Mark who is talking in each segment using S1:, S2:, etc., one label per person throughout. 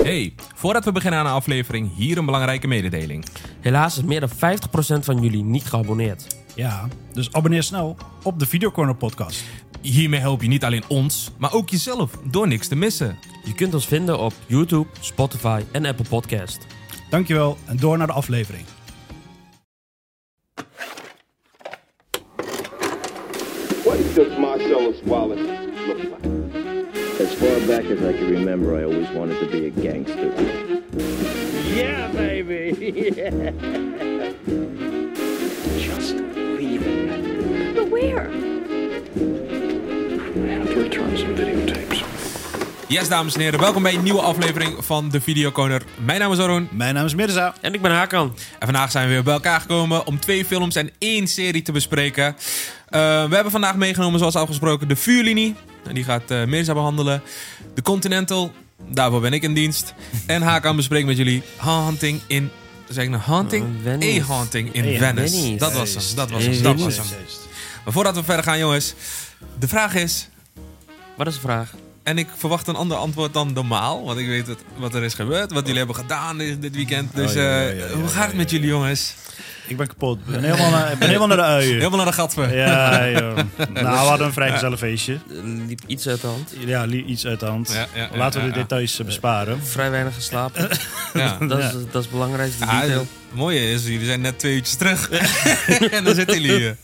S1: Hey, voordat we beginnen aan de aflevering, hier een belangrijke mededeling.
S2: Helaas is meer dan 50% van jullie niet geabonneerd.
S3: Ja, dus abonneer snel op de Videocorner podcast.
S1: Hiermee help je niet alleen ons, maar ook jezelf door niks te missen.
S2: Je kunt ons vinden op YouTube, Spotify en Apple Podcast.
S3: Dankjewel en door naar de aflevering.
S4: What does Marcellus Wallace look like?
S5: As far back as I can remember, I always wanted to be a gangster.
S4: Yeah, baby. Just leave it.
S6: But where?
S4: I have to return some videotapes.
S1: Yes, dames en heren, welkom bij een nieuwe aflevering van de Videoconer. Mijn naam is Arun
S3: Mijn naam is Mirza.
S2: En ik ben Hakan.
S1: en vandaag zijn we weer bij elkaar gekomen om twee films en één serie te bespreken. Eh, we hebben vandaag meegenomen, zoals afgesproken, de vuurlinie. En die gaat eh Mirza behandelen. De Continental, daarvoor ben ik in dienst. En Hakan bespreekt met jullie Hunting in... Zeg ik nou, Hunting?
S2: Eh, Venice.
S1: E-Hunting in
S2: Eh,
S1: Venice.
S2: Venice.
S1: Dat was hem, dat was
S2: Eh,
S1: hem, dat was
S2: Venice.
S1: hem. Maar voordat we verder gaan, jongens. De vraag is,
S2: Wat is de vraag?
S1: en ik verwacht een ander antwoord dan normaal, want ik weet het, wat er is gebeurd, wat jullie hebben gedaan is- dit weekend. Dus
S3: Oh, ja, ja,
S1: eh,
S3: ja, ja,
S1: hoe gaat het met jullie, jongens?
S3: Ik ben kapot. Ik ben helemaal naar, ik ben helemaal naar de uien.
S1: Helemaal naar de gatver.
S3: Ja, joh. Nou, we hadden een vrij gezellig feestje.
S2: Er liep iets uit de hand.
S3: Ja, li- iets uit de hand.
S1: Ja, ja, ja,
S3: Laten we
S1: ja,
S3: de
S1: ja.
S3: details eh, besparen.
S2: Vrij weinig geslapen.
S1: Ja.
S2: Dat is, dat is het belangrijkste
S1: Ja,
S2: detail.
S1: het mooie is, jullie zijn net twee uurtjes terug. en dan zitten jullie hier.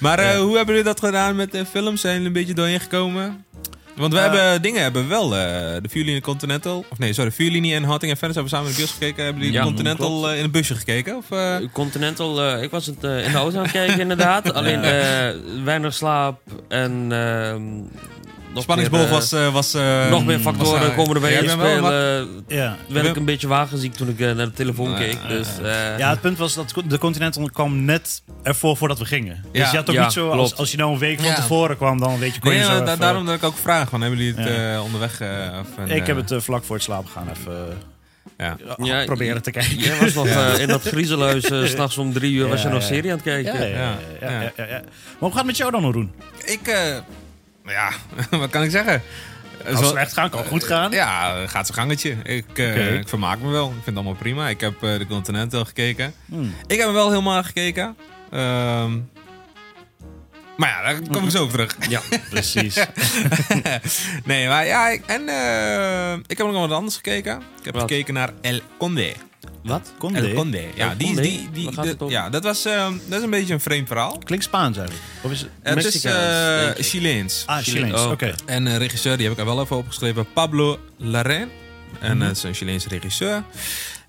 S1: Maar eh, hoe hebben jullie dat gedaan met de films? Zijn jullie een beetje doorheen gekomen? Want we hebben dingen hebben wel. eh, de vuurlinie Continental. Of nee, sorry, vuurlinie en Hunting en Venice hebben samen in de bus gekeken. Hebben jullie
S2: Ja,
S1: Continental eh, in een busje gekeken? Of, eh?
S2: Continental, eh, ik was het eh, in de auto aan het kijken inderdaad. Alleen eh, weinig slaap en... ehm, nog
S1: Spanningsboog
S2: meer, eh,
S1: was... eh, was eh,
S2: nog meer
S1: was,
S2: factoren
S1: eh,
S2: komen erbij
S1: jij
S2: in
S1: bent wel
S2: spelen.
S1: wat-
S3: Ja.
S2: werd ik een beetje wagenziek toen ik eh, naar de telefoon keek. Dus, eh,
S3: Ja, het punt was dat de Continental kwam net ervoor voordat we gingen.
S1: Ja.
S3: Dus je had ook
S2: Ja,
S3: niet zo, als,
S2: klopt.
S3: als je nou een week van
S1: Ja.
S3: tevoren kwam, dan weet je, kon je
S1: Nee,
S3: zo
S1: maar da-
S3: even-
S1: daarom dat ik ook vraag. Van, hebben jullie het
S3: Ja.
S1: eh, onderweg... eh, of een,
S3: Ik heb
S1: eh,
S3: het eh, vlak voor het slapen gaan even
S1: ja.
S3: eh,
S2: Ja,
S3: proberen te kijken.
S2: Jij was nog eh, in dat griezelhuis, eh, 's s'nachts om drie uur was je
S3: Ja,
S2: nog
S3: ja.
S2: serie aan het kijken.
S3: Ja, ja, ja, ja, ja, ja, ja. Maar hoe gaat het met jou dan, Roen?
S1: Ik... eh, ja, wat kan ik zeggen?
S3: Kan
S1: Zo-
S3: slecht gaan, kan goed gaan.
S1: Ja, eh, gaat zijn gangetje. Ik, eh,
S3: Oké.
S1: ik vermaak me wel. Ik vind het allemaal prima. Ik heb eh, de Continental gekeken.
S3: Hmm.
S1: Ik heb hem wel helemaal gekeken. Ehm, maar ja, daar kom ik zo op terug.
S3: Ja, precies.
S1: nee, maar ja. Ik, en eh, ik heb ook nog wat anders gekeken. Ik heb
S2: Wat?
S1: gekeken naar El Conde.
S2: Wat?
S3: Kon
S1: El
S3: dit?
S1: Conde. Ja,
S2: El
S1: die, is-
S2: Conde?
S1: die, die,
S2: Waar gaat
S1: de-
S2: het over?
S1: ja dat, was, ehm, dat is een beetje een vreemd verhaal.
S3: Klinkt Spaans eigenlijk. Of is het...
S1: Het is
S2: Mexicaans,
S1: eh,
S2: denk ik.
S1: Chileens.
S3: Ah, Chileens.
S2: Oh,
S3: Oké.
S2: oké.
S1: En een regisseur, die heb ik er wel even opgeschreven, Pablo Larraín. En
S2: Mhm.
S1: dat is een Chileense regisseur.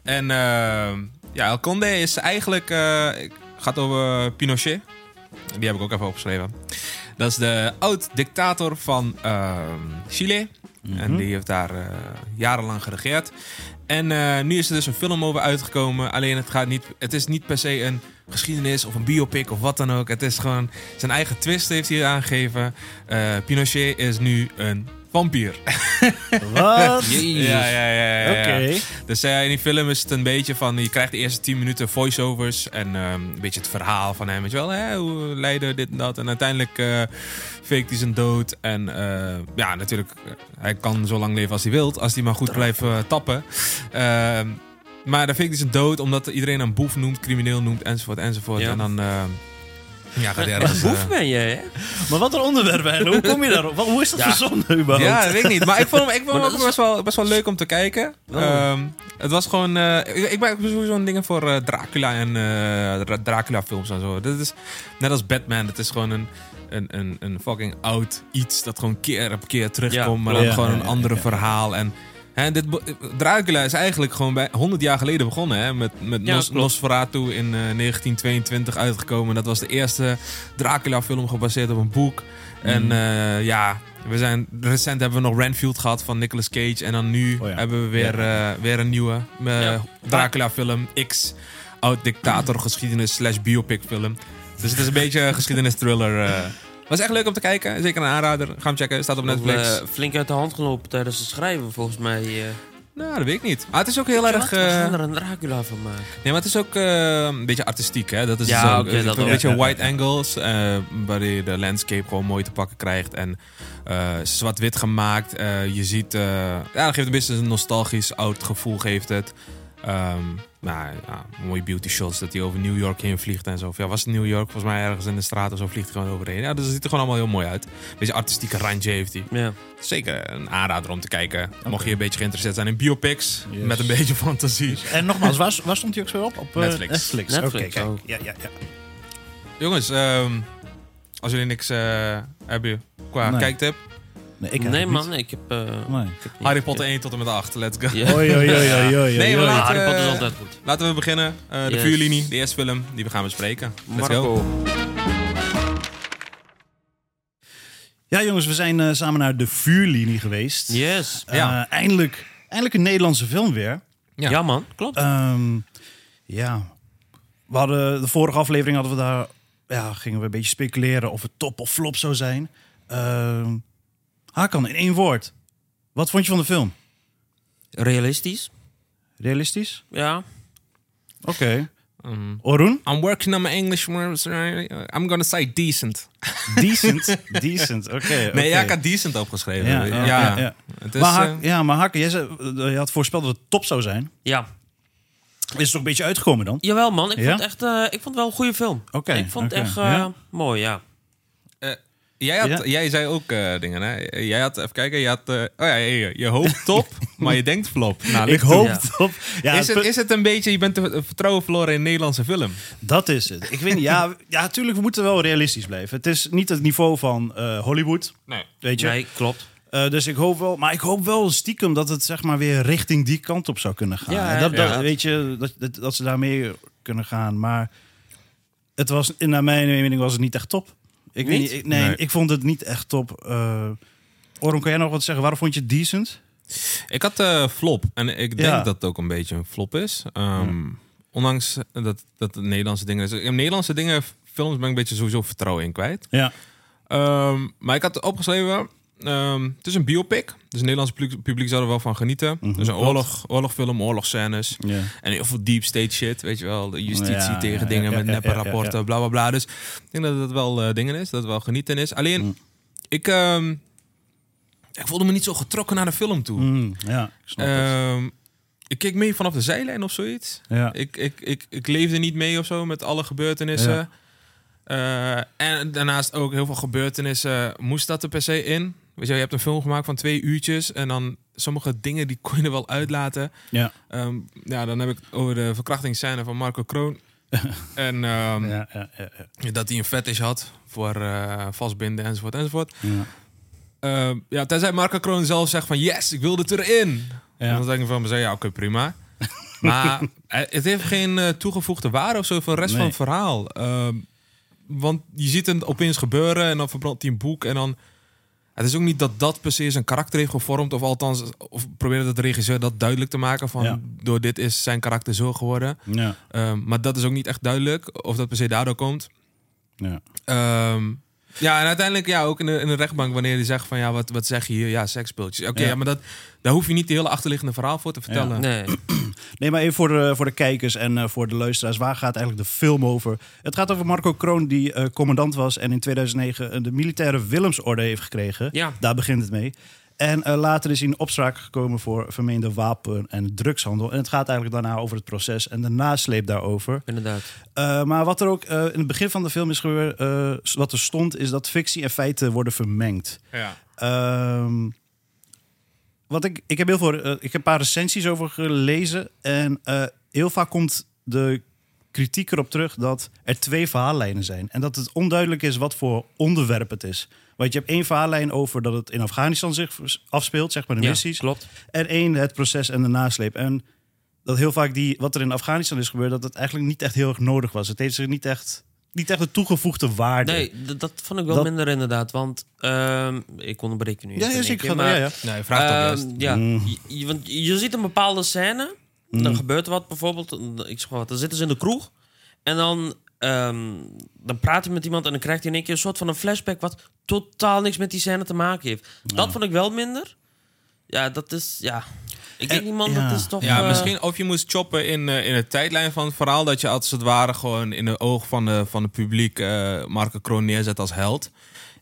S1: En eh, ja, El Conde is eigenlijk... eh, gaat over Pinochet. Die heb ik ook even opgeschreven. Dat is de oud-dictator van eh, Chile. En die heeft daar eh, jarenlang geregeerd. En eh, nu is er dus een film over uitgekomen. Alleen het, gaat niet, het is niet per se een geschiedenis of een biopic of wat dan ook. Het is gewoon zijn eigen twist heeft hij aangegeven. Eh, Pinochet is nu een vampier.
S3: Wat?
S1: Ja, ja, ja. ja, ja.
S3: Oké.
S1: Dus eh, in die film is het een beetje van... Je krijgt de eerste 10 minuten voiceovers. En ehm, een beetje het verhaal van hem. Weet je wel, hè, hoe leiden dit en dat. En uiteindelijk eh fake hij zijn dood. En eh, ja, natuurlijk... eh, Hij kan zo lang leven als hij wilt. Als hij maar goed blijft eh, tappen. Ehm, maar dan fake hij zijn dood. Omdat iedereen hem boef noemt. Crimineel noemt. Enzovoort, enzovoort.
S2: Ja.
S1: En dan... ehm, ja, gaat hij ergens...
S2: Echt boef
S1: eh,
S2: ben je, hè?
S3: Maar wat een onderwerp eigenlijk. Hoe kom je daarop? Wat- Hoe is dat
S2: Ja.
S3: verzonnen überhaupt?
S1: Ja, dat weet ik niet. Maar ik vond hem, ik vond
S2: Maar
S1: hem
S2: dat
S1: ook
S2: is-
S1: best wel, best wel leuk om te kijken.
S3: Oh.
S1: Ehm, het was gewoon... eh, ik, ik maak sowieso een dingen voor eh, Dracula en eh, Dra- Dracula-films en zo. Dat is net als Batman. Het is gewoon een, een, een, een fucking oud iets dat gewoon keer op keer terugkomt. maar dan
S3: Ja,
S1: gewoon
S3: ja,
S1: een
S3: ja,
S1: andere
S3: ja.
S1: verhaal. En, hè, dit, bo- Dracula is eigenlijk gewoon bij 100 jaar geleden begonnen. Hè, met met
S2: Ja,
S1: Nos-
S2: klopt.
S1: Nosferatu in eh, 1922 uitgekomen. Dat was de eerste Dracula-film gebaseerd op een boek.
S3: Mm.
S1: En eh, ja, we zijn, recent hebben we nog Renfield gehad van Nicolas Cage. En dan nu
S3: Oh ja.
S1: hebben we weer, eh, weer een nieuwe eh,
S2: Ja.
S1: Dracula-film. X, oud-dictator geschiedenis slash biopic film. Dus het is een beetje een geschiedenis-thriller. eh. Was echt leuk om te kijken. Zeker een aanrader. Ga hem checken. Staat op Netflix.
S2: Eh, flink uit de hand gelopen tijdens het schrijven, volgens mij. eh.
S1: Nou, dat weet ik niet. Maar het is ook heel erg...
S2: We
S1: eh,
S2: gaan er een Dracula van maken.
S1: Nee, maar het is ook eh, een beetje artistiek, hè? Dat is
S2: Ja,
S1: het ook.
S2: oké,
S1: Het is
S2: dat
S1: een
S2: ook.
S1: beetje
S3: Ja, ja,
S1: wide angles, eh, waar je de landscape gewoon mooi te pakken krijgt. En eh, zwart-wit gemaakt. Eh, je ziet... eh, ja, dat geeft een beetje een nostalgisch oud gevoel, geeft het. Ehm nou, ja, mooie beauty shots dat hij over New York heen vliegt en zo. Of Ja, was het New York? Volgens mij ergens in de straat of zo vliegt hij gewoon overheen. Ja, dus het ziet er gewoon allemaal heel mooi uit. Een beetje artistieke randje heeft hij.
S2: Ja.
S1: Zeker een aanrader om te kijken. Mocht je een beetje geïnteresseerd zijn in biopics. Met een beetje fantasie.
S3: En nogmaals, waar, waar stond hij ook zo op? Op eh,
S1: Netflix.
S3: Netflix. Oké,
S2: Netflix,
S3: kijk.
S2: oh.
S3: Ja, ja, ja.
S1: Jongens, ehm, als jullie niks eh, hebben qua
S3: Nee.
S1: kijktip.
S3: Nee, ik
S2: nee
S3: eigenlijk
S2: man,
S3: niet.
S2: ik heb... eh,
S3: Nee.
S2: ik heb niet
S1: Harry
S2: gekeken.
S1: Potter 1 tot en met 8, let's go.
S2: Ja.
S3: Oei, oei, oei, oei, oei,
S1: Nee,
S3: oei.
S1: maar
S2: Ja,
S1: laten,
S2: Harry
S1: we-
S3: eh,
S2: Potter is altijd goed.
S1: laten we beginnen. Eh, de
S2: Yes.
S1: vuurlinie, de eerste film die we gaan bespreken. Let's go.
S3: Ja, jongens, we zijn eh, samen naar de vuurlinie geweest.
S2: Yes.
S3: Eh,
S1: Ja.
S3: eindelijk, eindelijk een Nederlandse film weer.
S1: Ja.
S2: Ja. man, klopt.
S3: Ehm, ja, we hadden de vorige aflevering hadden we daar, ja, gingen we een beetje speculeren of het top of flop zou zijn. Ehm Hakan, in één woord, wat vond je van de film?
S2: Realistisch.
S3: Realistisch?
S2: Ja.
S3: Oké.
S1: Mm.
S3: Orun?
S1: I'm working on my English, words, right? I'm gonna say decent.
S3: Decent. Decent, oké. oké.
S1: Nee, ja, ik had decent opgeschreven.
S3: Ja,
S1: Ja,
S3: ja, ja, ja.
S1: Het is,
S3: maar Hak-
S1: eh,
S3: ja, maar Hakan, jij zei, eh, je had voorspeld dat het top zou zijn.
S2: Ja.
S3: Is het toch een beetje uitgekomen dan?
S2: Jawel man, ik
S3: Ja?
S2: vond echt, eh, ik vond het wel een goede film.
S3: Oké,
S2: Ik vond het
S3: oké,
S2: echt eh,
S3: ja.
S2: mooi, ja.
S1: eh, jij, had,
S3: Ja.
S1: jij zei ook eh, dingen, hè? Jij had, even kijken, je had... eh, oh ja, je, je hoopt top, maar je denkt flop. Nou,
S3: Ik
S1: ligt-
S3: hoop
S2: Ja.
S3: het op. Ja,
S1: is, het,
S3: punt-
S1: is het een beetje, je bent te te vertrouwen verloren in een Nederlandse film?
S3: Dat is het. Ik weet niet, ja, ja, tuurlijk, we moeten wel realistisch blijven. Het is niet het niveau van eh, Hollywood,
S1: Nee.
S3: weet je.
S2: Nee, klopt.
S3: Eh, dus ik hoop wel, maar ik hoop wel stiekem dat het zeg maar weer richting die kant op zou kunnen gaan.
S2: Ja,
S3: En dat, dat-
S2: inderdaad.
S3: weet je, dat, dat, dat ze daarmee kunnen gaan. Maar het was, in naar mijn mening was het niet echt top. Ik weet
S2: Niet?
S3: niet, ik- nee,
S1: Nee.
S3: ik vond het niet echt top. Eh Oron, kan jij nog wat zeggen? Waarom vond je het decent?
S1: Ik had eh, flop. En ik denk
S3: Ja.
S1: dat het ook een beetje een flop is. Ehm, Ondanks dat, dat het Nederlandse dingen is. In Nederlandse dingen, films, ben ik een beetje sowieso vertrouwen in kwijt.
S3: Ja,
S1: Ehm, maar ik had opgeschreven... ehm, het is een biopic. Dus het Nederlandse publiek, publiek zou er wel van genieten.
S3: Mhm.
S1: dus een oorlog, oorlogfilm, oorlogsscènes.
S3: Ja.
S1: En heel veel deep state shit. Weet je wel, de justitie
S3: Ja,
S1: tegen
S3: ja,
S1: dingen
S3: ja,
S1: met
S3: ja,
S1: neppe
S3: ja, ja,
S1: rapporten,
S3: ja.
S1: bla bla bla. Dus ik denk dat dat wel eh, dingen is. Dat het wel genieten is. Alleen,
S3: Mhm.
S1: ik, ehm, ik voelde me niet zo getrokken naar de film toe.
S3: Mm, ja ik snap
S2: Eh,
S3: het.
S1: Ehm, ik keek mee vanaf de zijlijn of zoiets.
S3: Ja.
S1: Ik, ik, ik, ik leefde niet mee of zo met alle gebeurtenissen.
S3: Ja.
S1: Eh, en daarnaast ook heel veel gebeurtenissen. Moest dat er per se in? Weet je, wel, je hebt een film gemaakt van twee uurtjes. En dan sommige dingen die kon je er wel uitlaten.
S3: Ja.
S1: Ehm, ja, dan heb ik het over de verkrachtingsscène van Marco Kroon. en ehm,
S3: Ja, ja, ja, ja.
S1: dat hij een fetish had voor eh, vastbinden enzovoort enzovoort.
S3: Ja.
S1: Eh, ja, tenzij Marco Kroon zelf zegt van yes, ik wil dit erin.
S3: Ja.
S1: Dan denk ik van mezelf, ja oké, prima. maar eh, het heeft geen eh, toegevoegde waarde of zo voor de rest
S3: Nee.
S1: van het verhaal. Ehm, want je ziet het opeens gebeuren en dan verbrandt hij een boek en dan... Het is ook niet dat dat per se zijn karakter heeft gevormd. Of althans, of probeerde de regisseur dat duidelijk te maken. Van
S3: Ja.
S1: door dit is zijn karakter zo geworden.
S3: Ja.
S1: Ehm, maar dat is ook niet echt duidelijk. Of dat per se daardoor komt.
S3: Ja.
S1: Ehm, ja, en uiteindelijk ja, ook in de, in de rechtbank wanneer die zegt van ja, wat, wat zeg je hier? Ja, seksspeeltjes. Oké,
S3: Ja.
S1: ja. maar dat, daar hoef je niet de hele achterliggende verhaal voor te vertellen.
S2: Nee.
S3: Nee, maar even voor de, voor de kijkers en eh, voor de luisteraars. Waar gaat eigenlijk de film over? Het gaat over Marco Kroon, die eh, commandant was en in 2009 de militaire Willemsorde heeft gekregen.
S2: Ja.
S3: Daar begint het mee. En eh, later is hij in opspraak gekomen voor vermeende wapen- en drugshandel. En het gaat eigenlijk daarna over het proces en de nasleep daarover.
S2: Inderdaad.
S3: Eh, maar wat er ook eh, in het begin van de film is gebeurd, eh, wat er stond, is dat fictie en feiten worden vermengd.
S1: Ja.
S3: Ehm, wat ik, ik heb heel veel, eh, ik heb een paar recensies over gelezen. En eh, heel vaak komt de kritiek erop terug dat er twee verhaallijnen zijn. En dat het onduidelijk is wat voor onderwerp het is. Want je hebt één verhaallijn over dat het in Afghanistan zich vers- afspeelt, zeg maar de
S2: Ja,
S3: missies.
S2: klopt.
S3: En één het proces en de nasleep. En dat heel vaak die, wat er in Afghanistan is gebeurd, dat het eigenlijk niet echt heel erg nodig was. Het heeft zich niet echt, niet echt de toegevoegde waarde.
S2: Nee, d- dat vond ik wel
S3: Dat-
S2: minder inderdaad. Want ehm, ik onderbreek je nu.
S3: Ja,
S2: even
S3: ja,
S2: in één
S3: zeker.
S2: keer,
S3: Ga- ja, Mm. ja.
S1: Nee, vraag toch
S2: Ehm,
S1: eerst.
S2: ja, je, je- want je ziet een bepaalde scène.
S3: Mm.
S2: Dan gebeurt er wat bijvoorbeeld. een- Ik zeg maar wat, dan zitten ze in de kroeg. En dan, ehm, dan praat je met iemand en dan krijgt hij in één keer een soort van een flashback... wat totaal niks met die scène te maken heeft. Dat vond ik wel minder. Ja, dat is... Ja. Ik Ik denk niet, man,
S3: ja.
S2: dat is toch...
S1: Ja,
S2: eh,
S1: misschien of je moest choppen in, eh, in de tijdlijn van het verhaal. Dat je als het ware gewoon in de oog van de, van het publiek eh Marco Kroon neerzet als held.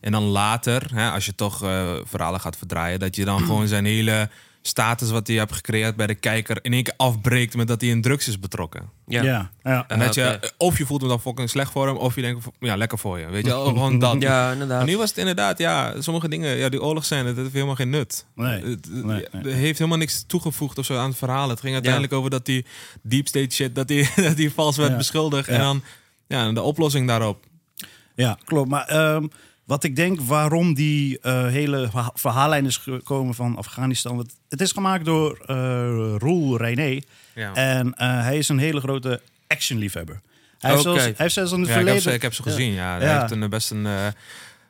S1: En dan later, hè, als je toch eh, verhalen gaat verdraaien, dat je dan
S2: Mm.
S1: gewoon zijn hele status wat hij hebt gecreëerd bij de kijker in één keer afbreekt met dat hij in drugs is betrokken.
S2: Ja.
S3: ja. ja.
S1: En dat je,
S2: Ah, oké.
S1: eh, of je voelt hem dan fucking slecht voor hem, of je denkt, ja, lekker voor je. Weet je, wel, gewoon dat.
S2: Ja,
S1: Maar
S2: inderdaad.
S1: nu was het inderdaad, ja, sommige dingen, ja, die oorlog zijn, dat heeft helemaal geen nut. Het,
S3: Nee,
S1: het-
S3: nee,
S1: het
S3: nee.
S1: heeft helemaal niks toegevoegd of zo aan het verhaal. Het ging uiteindelijk over dat die deep state shit, dat die, dat die vals werd
S3: Ja.
S1: beschuldigd.
S3: Ja.
S1: En dan ja, en de oplossing daarop.
S3: Ja, klopt. Maar ehm, wat ik denk waarom die eh, hele verha- verhaallijn is gekomen van Afghanistan. want Het is gemaakt door eh Roel Reiné.
S1: Ja.
S3: En eh, hij is een hele grote actionliefhebber. Hij, heeft
S2: Oké.
S3: zelfs- hij heeft zelfs in het
S1: Ja, ik, heb
S3: verleden...
S1: ze, ik heb ze gezien, ja. Hij
S3: Ja.
S1: heeft een, best een... eh,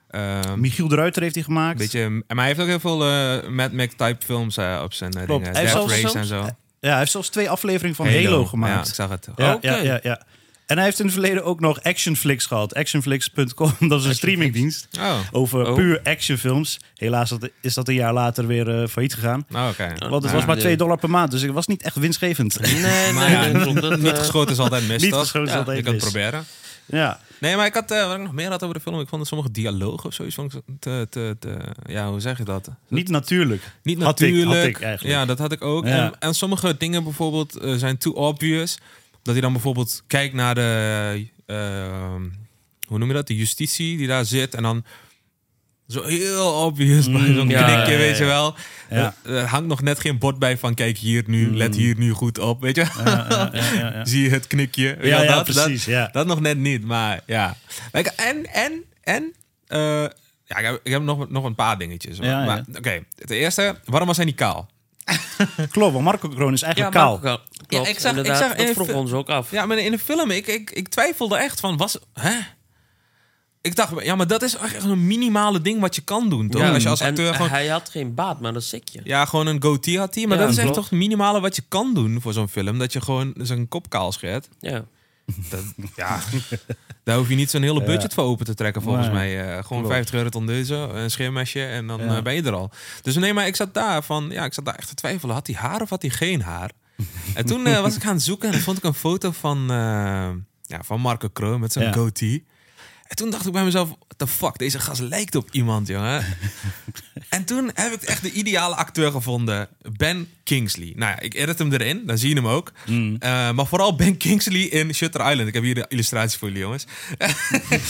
S1: eh,
S3: Michiel de Ruiter heeft hij gemaakt.
S1: beetje, maar hij heeft ook heel veel eh Mad Max type films eh, op zijn eh,
S3: Klopt.
S1: dingen.
S3: Hij heeft
S1: Death
S3: zelfs-
S1: Race en zo.
S3: Ja, hij heeft zelfs twee afleveringen van Halo,
S1: Ja, ik
S3: gemaakt.
S1: zag het.
S3: Ja,
S2: Oké.
S3: ja, ja, ja. En hij heeft in het verleden ook nog Actionflix gehad. Actionflix.com, dat is een streamingdienst.
S1: Oh,
S3: Over
S2: Oh.
S3: puur actionfilms. Helaas dat- is dat een jaar later weer eh, failliet gegaan.
S1: nou, oké.
S3: Want het
S2: Ja.
S3: was maar 2 dollar per maand, dus het was niet echt winstgevend.
S2: Nee,
S1: Maar
S2: nee,
S1: ja,
S2: nee, klopt, dat,
S1: niet
S2: eh,
S1: geschoten is altijd mis,
S3: Niet
S1: toch?
S3: geschoten is
S1: Ja,
S3: altijd
S1: Je kan het
S3: mis.
S1: proberen.
S3: Ja,
S1: Nee, maar ik had eh, wat ik nog meer had over de film. Ik vond sommige dialogen of zoiets. Vond ik te, te, te, ja, hoe zeg je dat?
S3: niet natuurlijk.
S1: Niet
S3: Had ik- had
S1: natuurlijk.
S3: ik eigenlijk.
S1: ja, dat had ik ook.
S3: Ja.
S1: En, en sommige dingen bijvoorbeeld eh, zijn too obvious. Dat hij dan bijvoorbeeld kijkt naar de. eh, hoe noem je dat? De justitie die daar zit. En dan. Zo heel obvious bij zo'n
S2: ja,
S1: knikje,
S3: Mm, ja,
S1: weet je
S3: ja.
S1: wel.
S3: Ja. Mm.
S1: Er, er hangt nog net geen bord bij van kijk hier nu, let hier nu goed op, weet je wel. Zie je het knikje? Weet je
S3: Ja,
S1: wel,
S3: ja,
S1: dat,
S3: precies,
S1: Dat,
S3: ja.
S1: dat nog net niet, maar ja. Maar ik- En, en, en... eh, ja, ik heb, ik heb nog, nog een paar dingetjes. hoor.
S3: Ja, ja.
S1: maar Oké, ten eerste, waarom was hij niet kaal?
S3: Klopt, want Marco Kroon is
S2: Ja,
S3: eigenlijk
S2: maar
S3: kaal.
S2: ook wel. Klopt,
S1: Ja, ik zag- ik
S2: inderdaad,
S1: zag
S2: dat
S1: in-
S2: vroegen we ons ook af.
S1: Ja, maar in de film, ik, ik, ik twijfelde echt van, was... Hè? Ik dacht, ja, maar dat is echt een minimale ding wat je kan doen, toch? Als je als
S2: en
S1: acteur gewoon...
S2: Hij had geen baat, maar dat sikje.
S1: Ja, gewoon een goatee had hij. Maar
S2: Ja,
S1: dat is echt
S2: klopt.
S1: toch het minimale wat je kan doen voor zo'n film. Dat je gewoon zijn kop kaal scheert.
S2: Ja.
S1: Dat, ja, daar hoef je niet zo'n hele budget voor open te trekken, volgens
S3: Nee,
S1: mij. Eh, gewoon 50 euro tondeuze, een scheermesje en dan eh, ben je er al. Dus nee, maar ik zat daar van, ja, ik zat daar echt te twijfelen. Had hij haar of had hij geen haar? En toen eh, was ik aan het zoeken en dan vond ik een foto van, eh, ja, van Marco Kroon met zijn
S3: Ja.
S1: goatee. En toen dacht ik bij mezelf, what the fuck, deze gast lijkt op iemand, jongen. en toen heb ik echt de ideale acteur gevonden. Ben Kingsley. Nou ja, ik edit hem erin, dan zie je hem ook.
S3: Mm.
S1: Eh, maar vooral Ben Kingsley in Shutter Island. Ik heb hier de illustratie voor jullie, jongens.
S3: Ja,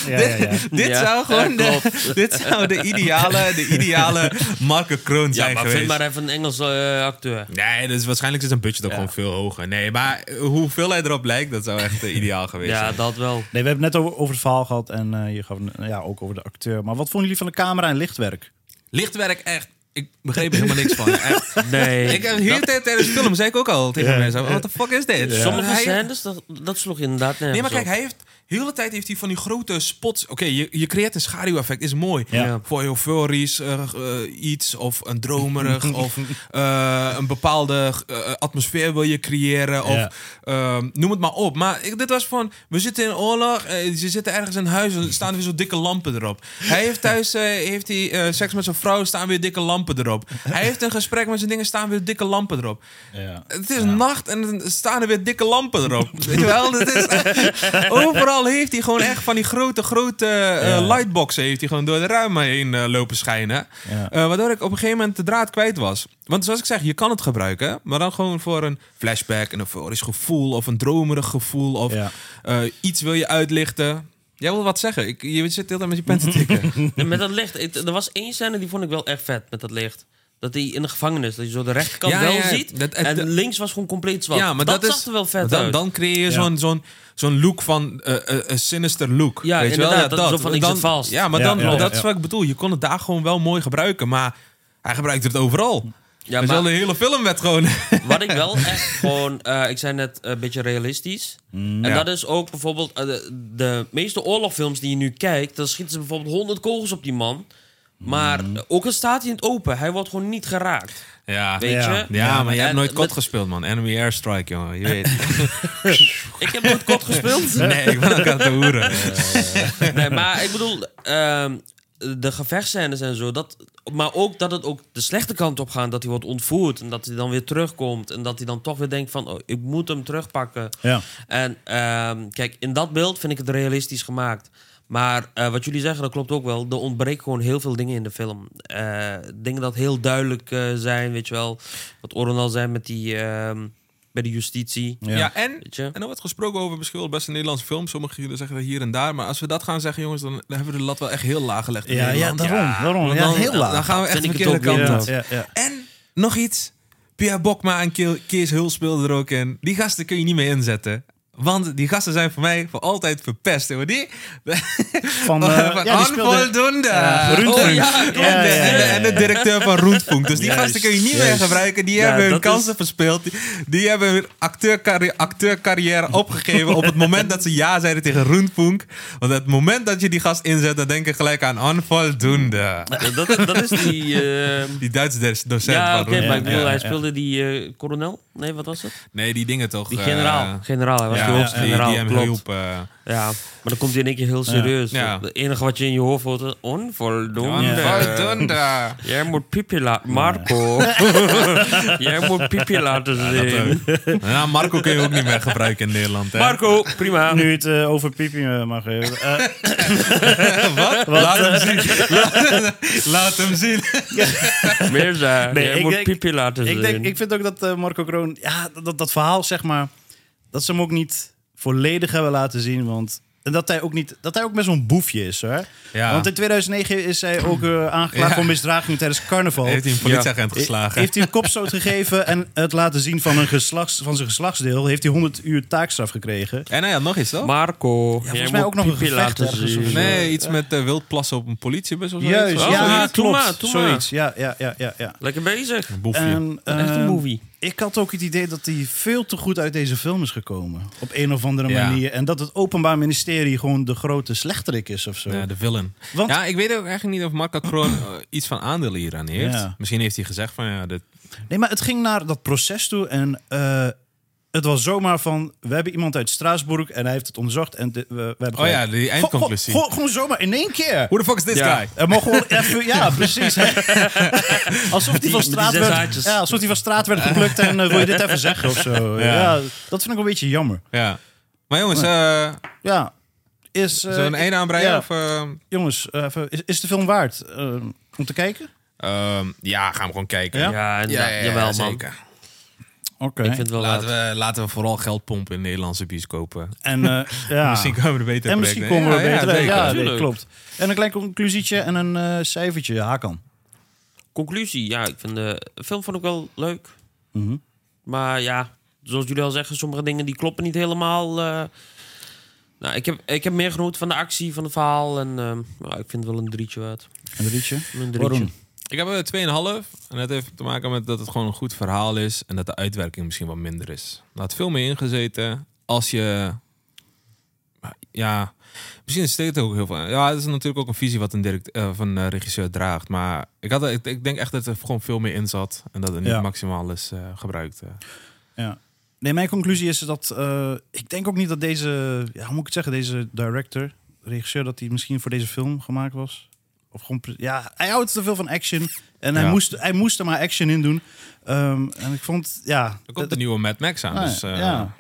S3: ja, ja.
S1: dit
S2: Ja,
S1: zou gewoon
S2: ja,
S1: de, dit zou de ideale, de ideale Marco Kroon
S2: Ja,
S1: zijn
S2: maar vind
S1: geweest.
S2: maar even een Engelse eh, acteur.
S1: Nee, dus waarschijnlijk is een budget ook gewoon veel hoger. Nee, maar hoeveel hij erop lijkt, dat zou echt eh, ideaal geweest zijn.
S2: Ja, dat wel.
S3: Nee, we hebben het net over, over het verhaal gehad en eh, je gaf eh, ja, ook over de acteur. Maar wat vonden jullie van de camera en lichtwerk?
S1: Lichtwerk echt. Ik begreep er helemaal niks van. Echt.
S2: Nee.
S1: Ik heb hier tijd tijdens de film zei ik ook al tegen mensen: wat de fuck is dit?
S2: Sommige
S1: Hij-
S2: scènes, dat, dat sloeg inderdaad nergens
S1: Nee, maar kijk,
S2: op.
S1: hij heeft. De hele tijd heeft hij van die grote spots. Oké, je, je creëert een schaduweffect, is mooi.
S3: Ja.
S2: Ja.
S1: Voor euforisch eh, eh, iets, of een dromerig, of eh, een bepaalde eh, atmosfeer wil je creëren. Of
S3: Ja.
S1: ehm, noem het maar op. Maar ik, dit was van, we zitten in oorlog, eh, ze zitten ergens in huis en staan weer zo dikke lampen erop. Hij heeft thuis eh, heeft hij, eh, seks met zijn vrouw, staan weer dikke lampen erop. Hij heeft een gesprek met zijn dingen, staan weer dikke lampen erop.
S3: Ja.
S1: Het is nacht en dan staan er weer dikke lampen erop. Weet je wel? Dat is, overal heeft hij gewoon echt van die grote, grote eh,
S3: Ja.
S1: lightboxen... heeft hij gewoon door de ruimte heen eh, lopen schijnen.
S3: Ja.
S1: Eh, waardoor ik op een gegeven moment de draad kwijt was. Want zoals ik zeg, je kan het gebruiken... maar dan gewoon voor een flashback, een euforisch gevoel... of een dromerig gevoel of
S3: Ja.
S1: eh, iets wil je uitlichten... Jij wil wat zeggen. Ik, je zit de hele tijd met je pen te tikken.
S2: En Met dat licht. ik- er was één scène die vond ik wel echt vet met dat licht. Dat hij in de gevangenis, dat je zo de rechterkant
S1: Ja,
S2: wel
S1: ja,
S2: ziet.
S1: dat-
S2: en
S1: dat-
S2: links was gewoon compleet zwart.
S1: ja, maar dat, is,
S2: zag er wel vet
S1: dan,
S2: uit.
S1: Dan creëer je zo'n zo'n zo'n look van eh, eh, een sinister look.
S2: Ja,
S1: weet je wel?
S2: inderdaad, dat is zo van, ik
S1: dan,
S2: zit vast.
S1: Ja, maar
S3: Ja,
S1: dan,
S3: ja, ja,
S1: dat is
S3: ja.
S1: wat ik bedoel. Je kon het daar gewoon wel mooi gebruiken, maar hij gebruikte het overal.
S2: ja,
S1: dus
S2: maar-
S1: wel de hele film werd gewoon...
S2: Wat ik wel echt gewoon, eh, ik zei net, een beetje realistisch. en
S1: Mm, Ja.
S2: dat is ook bijvoorbeeld, eh, de, de meeste oorlogfilms die je nu kijkt, dan schieten ze bijvoorbeeld 100 kogels op die man. Maar
S1: Mm.
S2: eh, ook al staat hij in het open, hij wordt gewoon niet geraakt.
S1: ja.
S2: Weet
S3: Ja.
S2: je?
S1: Ja, maar je hebt
S2: En
S1: nooit
S2: met-
S1: kot gespeeld, man. Enemy Airstrike, jongen. Je weet.
S2: Ik heb nooit kot gespeeld.
S1: Nee, ik ben ook aan het hoeren.
S2: Nee, maar ik bedoel, ehm, de gevechtsscènes en zo, dat maar ook dat het ook de slechte kant op gaat. Dat hij wordt ontvoerd en dat hij dan weer terugkomt. En dat hij dan toch weer denkt van, oh, ik moet hem terugpakken.
S3: Ja.
S2: En ehm, kijk, in dat beeld vind ik het realistisch gemaakt. Maar eh, wat jullie zeggen, dat klopt ook wel. Er ontbreekt gewoon heel veel dingen in de film. Eh, dingen dat heel duidelijk eh, zijn, weet je wel. Wat Oren al zei met die, ehm, bij de justitie.
S1: Ja,
S3: Ja.
S1: en,
S2: Weet je?
S1: en er wordt gesproken over misschien wel best een Nederlandse film. Sommigen jullie zeggen dat hier en daar. Maar als we dat gaan zeggen, jongens, dan, dan hebben we de lat wel echt heel laag gelegd. in
S3: Ja, ja,
S1: Nederland.
S3: daarom. daarom.
S1: Want
S3: Ja,
S1: dan,
S3: heel laag.
S1: Dan gaan we echt de
S2: Vind ik het
S1: verkeerde
S2: ook weer
S1: kant op.
S2: inderdaad.
S3: Ja, ja.
S1: En nog iets. Pierre Bokma en Ke- Kees Hul speelden er ook in. Die gasten kun je niet meer inzetten. Want die gasten zijn voor mij voor altijd verpest. Hoor. Die,
S3: Van,
S1: Oh,
S3: eh, ja, die speelde-
S1: Onvoldoende.
S3: Ja,
S1: oh,
S3: Rundfunk.
S1: ja, klopt.
S3: Ja, ja,
S1: En,
S3: ja,
S1: de, en de
S3: ja.
S1: directeur van Rundfunk. Dus die
S2: Juist,
S1: gasten kun je niet meer
S2: juist.
S1: gebruiken. Die
S2: Ja,
S1: hebben hun
S2: dat
S1: kansen
S2: is-
S1: verspeeld. Die, die hebben hun acteurcarri- acteurcarrière opgegeven op het moment dat ze ja zeiden tegen Rundfunk. Want het moment dat je die gast inzet, dan denk ik gelijk aan onvoldoende.
S2: dat, dat is die... ehm,
S1: Die Duitse docent
S2: ja,
S1: van
S2: oké,
S1: Rundfunk.
S2: maar ik bedoel,
S1: Ja.
S2: hij speelde die eh, koronel? Nee, wat was het?
S1: Nee, die dingen toch.
S2: Die
S1: eh,
S2: generaal. generaal, hij was
S1: ja,
S2: de hoogste
S1: die,
S2: generaal,
S1: die hem
S2: klopt.
S1: hielp. eh,
S2: Ja, maar dan komt hij in één keer heel serieus.
S1: Ja.
S2: Het enige wat je in je hoofd hoort is... Onvoldoende.
S1: eh, onvoldoende.
S2: Jij moet piepje laten... Marco. Jij moet piepje laten zien.
S1: Nou, Marco kun je ook niet meer gebruiken in Nederland. Hè?
S2: Marco, prima.
S3: Nu het eh, over Pipi eh, mag hebben. Eh,
S1: Wat? Laat hem zien. Laat, laat hem zien.
S2: Meer zijn.
S3: Nee,
S2: Jij
S3: ik
S2: moet
S3: denk-
S2: piepje laten zien.
S3: ik, denk, ik vind ook dat eh, Marco Kroon... Ja, dat, dat, dat verhaal, zeg maar... Dat ze hem ook niet volledig hebben laten zien. Want, en dat hij ook, niet, dat hij ook best wel een boefje is, hoor.
S1: Ja.
S3: Want in 2009 is hij ook eh, aangeklaagd
S1: Ja.
S3: voor misdraging tijdens carnaval.
S1: Heeft hij een politieagent
S3: He-
S1: geslagen?
S3: Heeft hij een kopstoot gegeven en het laten zien van, een geslachts, van zijn geslachtsdeel... heeft hij 100 uur taakstraf gekregen.
S1: En hij had nog iets, toch?
S2: Marco, jij
S3: volgens mij
S2: moet
S3: ook nog een
S2: piepje
S3: gevecht
S2: laten
S3: ergens
S2: zien.
S3: of zo.
S1: nee, iets met eh, wildplassen op een politiebus of zo.
S3: Juist,
S2: Oh,
S3: ja,
S2: ja,
S3: klopt.
S2: doe maar, doe maar.
S3: Zoiets, ja, ja, ja, ja. ja.
S2: Lekker bezig.
S1: Boefje.
S3: En,
S2: Echt een
S3: ehm,
S2: movie.
S3: Ik had ook het idee dat hij veel te goed uit deze film is gekomen. Op een of andere
S1: Ja.
S3: manier. En dat het Openbaar Ministerie gewoon de grote slechterik is of zo.
S1: Ja, de villain.
S3: Want-
S1: ja, ik weet ook eigenlijk niet of Marco Kroon eh, iets van aandelen hieraan heeft.
S3: Ja.
S1: Misschien heeft hij gezegd van ja, dit,
S3: Nee, maar het ging naar dat proces toe. En eh, het was zomaar van: we hebben iemand uit Straatsburg en hij heeft het onderzocht. En dit- we, we hebben
S1: Oh
S3: gewoon-
S1: ja, die eindconclusie.
S3: Go- go- go- gewoon zomaar in één keer.
S1: Who the fuck is this
S2: Ja.
S1: guy?
S3: Er mogen gewoon even, ja, precies. alsof hij
S2: Die-
S3: van
S2: die
S3: straat
S2: zes
S3: werd,
S2: haartjes.
S3: ja, alsof die van straat werd geplukt en eh, wil je dit even zeggen of zo. Ja. dat vind ik een beetje jammer.
S1: Ja. Maar jongens, eh
S3: Ja, is eh,
S1: zo'n één aanbreien
S3: ja.
S1: of... eh,
S3: jongens, eh, even- is, is de film waard eh, om te kijken?
S1: Ehm, ja, gaan we gewoon kijken.
S3: Ja?
S2: Ja, en jawel man.
S1: zeker.
S3: Oké.
S2: Ik vind het wel
S1: Laten
S2: laat.
S1: we, laten we vooral geld pompen in Nederlandse bioscopen.
S3: En eh, ja.
S1: Misschien komen we er beter
S3: en misschien komen we beter. uit. Ja, nee,
S2: Tuurlijk.
S3: klopt. En een klein conclusietje en een eh, cijfertje. Hakan.
S2: Conclusie, ja, ik vind de film vond ik wel leuk.
S3: Mhm.
S2: Maar ja, zoals jullie al zeggen, sommige dingen die kloppen niet helemaal. eh. nou, ik, heb, ik heb meer genoten van de actie, van het verhaal. En ehm, nou, ik vind het wel een drietje waard.
S3: Een drietje.
S2: Een drietje.
S3: Waarom?
S1: Ik heb er 2,5. En dat heeft te maken met dat het gewoon een goed verhaal is. En dat de uitwerking misschien wat minder is. Er had veel meer ingezeten. Als je. Ja, misschien steekt het ook heel veel. Ja, het is natuurlijk ook een visie wat een, direct, eh, van een regisseur draagt. Maar ik, had, ik, ik denk echt dat er gewoon veel meer in zat. En dat het niet
S3: Ja.
S1: maximaal is eh, gebruikt. eh.
S3: Ja. Nee, mijn conclusie is dat eh, ik denk ook niet dat deze, ja, hoe moet ik het zeggen, deze director, regisseur, dat hij misschien voor deze film gemaakt was. Of gewoon, pre- ja, hij houdt te veel van action en hij,
S1: Ja.
S3: moest, hij moest er maar action in doen. Ehm, en ik vond, ja,
S1: Er komt een nieuwe Mad Max aan.
S3: nou ja,
S1: dus eh,
S3: ja. En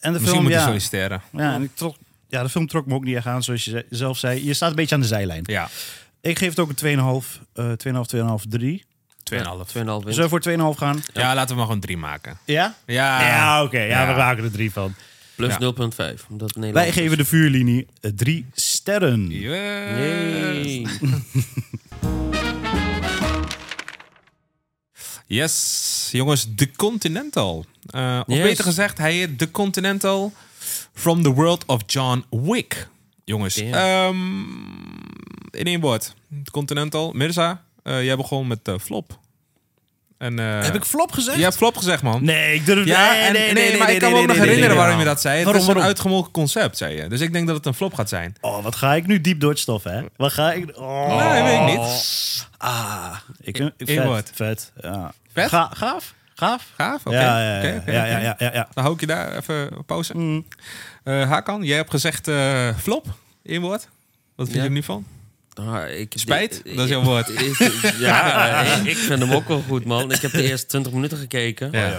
S3: de
S1: misschien
S3: film,
S1: moet je
S3: ja,
S1: solliciteren.
S3: ja, en ik trok, ja, de film trok me ook niet echt aan, zoals je ze- zelf zei. Je staat een beetje aan de zijlijn.
S1: Ja, 2,5.
S3: Ik geef het ook een 2,5, eh 2,5, 2,5, 3.
S2: 2,5 win.
S3: Zullen we voor 2,5 gaan?
S1: Ja, laten we maar gewoon drie maken.
S3: Ja?
S1: Ja,
S3: ja, oké. ja,
S1: Ja.
S3: we maken er drie van.
S2: Plus
S1: Ja.
S2: 0,5. Omdat Nederland
S3: Wij geven de vuurlinie eh, drie sterren.
S1: Yes.
S2: Yay.
S1: Yes, jongens, The Continental. Eh, of
S2: Yes.
S1: beter gezegd, hij heet The Continental from the world of John Wick. Jongens,
S2: Damn.
S1: ehm, in één woord. The Continental. Mirza, eh, jij begon met eh, Flop. En, eh,
S3: Heb ik flop gezegd?
S1: Jij hebt Flop gezegd, man.
S3: Nee, ik durf
S1: Ja, en, nee, maar ik kan me ook nog herinneren waarom je dat zei. Het
S3: Waarom,
S1: is een
S3: waarom?
S1: uitgemolken concept, zei je. Dus ik denk dat het een flop gaat zijn.
S3: Oh, wat ga ik nu diep door het stof, hè? Wat ga ik... Oh.
S1: Nee, weet ik niet.
S3: Ah, ik, ik,
S1: Eén
S3: vet,
S1: woord.
S3: vet. Ja.
S1: Vet?
S3: Ga, gaaf? Gaaf?
S1: Gaaf, oké.
S3: Ja, ja, ja,
S1: Oké, oké,
S3: ja,
S1: oké.
S3: ja, ja, ja, ja.
S1: Dan Nou, hou ik je daar even pauze.
S2: Mm.
S1: Eh, Hakan, jij hebt gezegd eh, flop, één woord. Wat vind
S2: Ja.
S1: je er nu van?
S2: Ah, ik,
S1: Spijt?
S2: ik-
S1: Dat is jouw woord.
S2: ik- ja, ik- ik vind hem ook wel goed, man. Ik heb de eerste 20 minuten gekeken.
S1: Ja. Ah,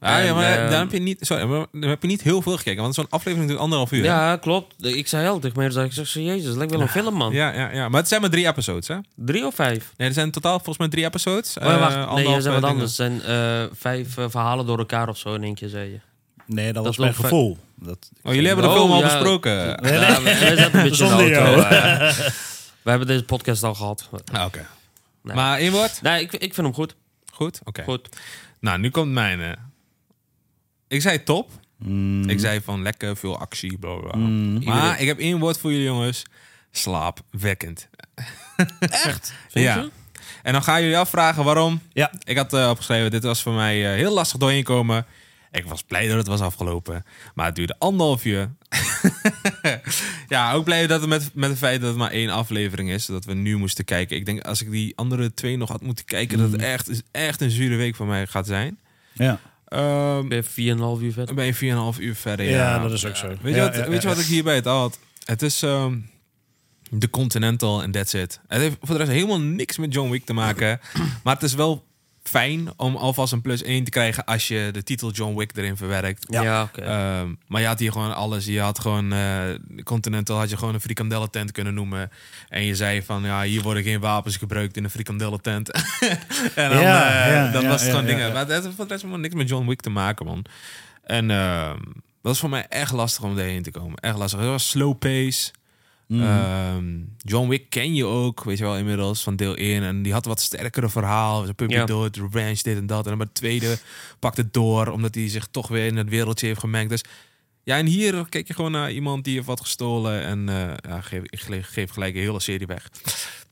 S1: ja,
S2: En,
S1: maar
S2: ehm,
S1: daar heb je niet, sorry, maar daar heb je niet heel veel gekeken. Want zo'n aflevering duurt anderhalf uur. hè?
S2: Ja, klopt. Ik zei al tegen mij, dat ik zeg, zo, jezus, het lijkt wel een film, man.
S1: Ja, ja, ja, maar het zijn maar drie episodes, hè?
S2: Drie of vijf?
S1: Nee, er zijn in totaal volgens mij drie episodes.
S2: Oh, ja,
S1: Eh,
S2: wacht, nee,
S1: anderhalf,
S2: je zei wat
S1: eh,
S2: anders. Het zijn eh, vijf eh, verhalen door elkaar of zo in één keer, zei je.
S3: Nee, dat was
S2: wel
S3: mijn
S2: fijn.
S3: gevoel. Dat,
S1: dingen. Oh, jullie hebben de
S2: Oh,
S1: film al
S2: ja.
S1: besproken.
S2: Ja, we- wij zaten een beetje in de
S3: Zonder
S2: auto,
S3: jou.
S2: eh. we hebben deze podcast al gehad.
S1: Ah, Oké.
S2: Nee.
S1: Maar één woord?
S2: Nee, ik, ik vind hem goed.
S1: Goed? Oké.
S2: goed.
S1: Nou, nu komt mijn... eh, ik zei top.
S3: Mm.
S1: Ik zei van lekker veel actie, bla bla. bla. Mhm. Maar
S2: Iedereen-
S1: ik heb één woord voor jullie jongens. Slaapwekkend.
S2: Echt?
S1: ja. En dan gaan jullie afvragen waarom.
S3: Ja.
S1: Ik had eh, opgeschreven, dit was voor mij eh, heel lastig doorheen komen. Ik was blij dat het was afgelopen. Maar het duurde anderhalf uur. ja, ook blij dat het met, met het feit dat het maar één aflevering is. Dat we nu moesten kijken. Ik denk, als ik die andere twee nog had moeten kijken... dat het
S3: Mhm.
S1: echt, echt een zure week voor mij gaat zijn.
S3: ja.
S1: Ehm,
S2: Ik ben 4,5 uur verder.
S1: dan ben je 4,5 uur verder.
S3: Ja, dat is ook zo.
S1: Weet je,
S3: Ja,
S1: wat,
S3: ja,
S1: weet je
S3: ja.
S1: wat ik hierbij het had? Het is ehm, de Continental en that's it. Het heeft voor de rest helemaal niks met John Wick te maken. maar het is wel fijn om alvast een plus 1 te krijgen als je de titel John Wick erin verwerkt.
S2: Ja, oké.
S1: Ehm, maar je had hier gewoon alles. Je had gewoon eh, Continental had je gewoon een frikandellentent kunnen noemen. En je zei van ja, hier worden geen wapens gebruikt in een frikandellentent. en dan,
S3: Ja,
S1: eh,
S3: ja,
S1: dat
S3: ja,
S1: was het
S3: ja,
S1: gewoon
S3: ja,
S1: dingen.
S3: ja.
S1: Maar het heeft voor de rest helemaal niks met John Wick te maken, man. En ehm, dat is voor mij echt lastig om daarheen te komen. Echt lastig. Het was slow pace.
S3: Mm. Mhm.
S1: Ehm, John Wick ken je ook, weet je wel, inmiddels van deel 1. En die had wat sterkere verhaal. Zijn puppy
S2: Ja.
S1: dood, revenge, dit en dat. En dan bij de tweede pakt het door, omdat hij zich toch weer in het wereldje heeft gemengd. Dus ja, en hier kijk je gewoon naar iemand die heeft wat gestolen. En eh, ja, geef, ik ge- geef gelijk een hele serie weg.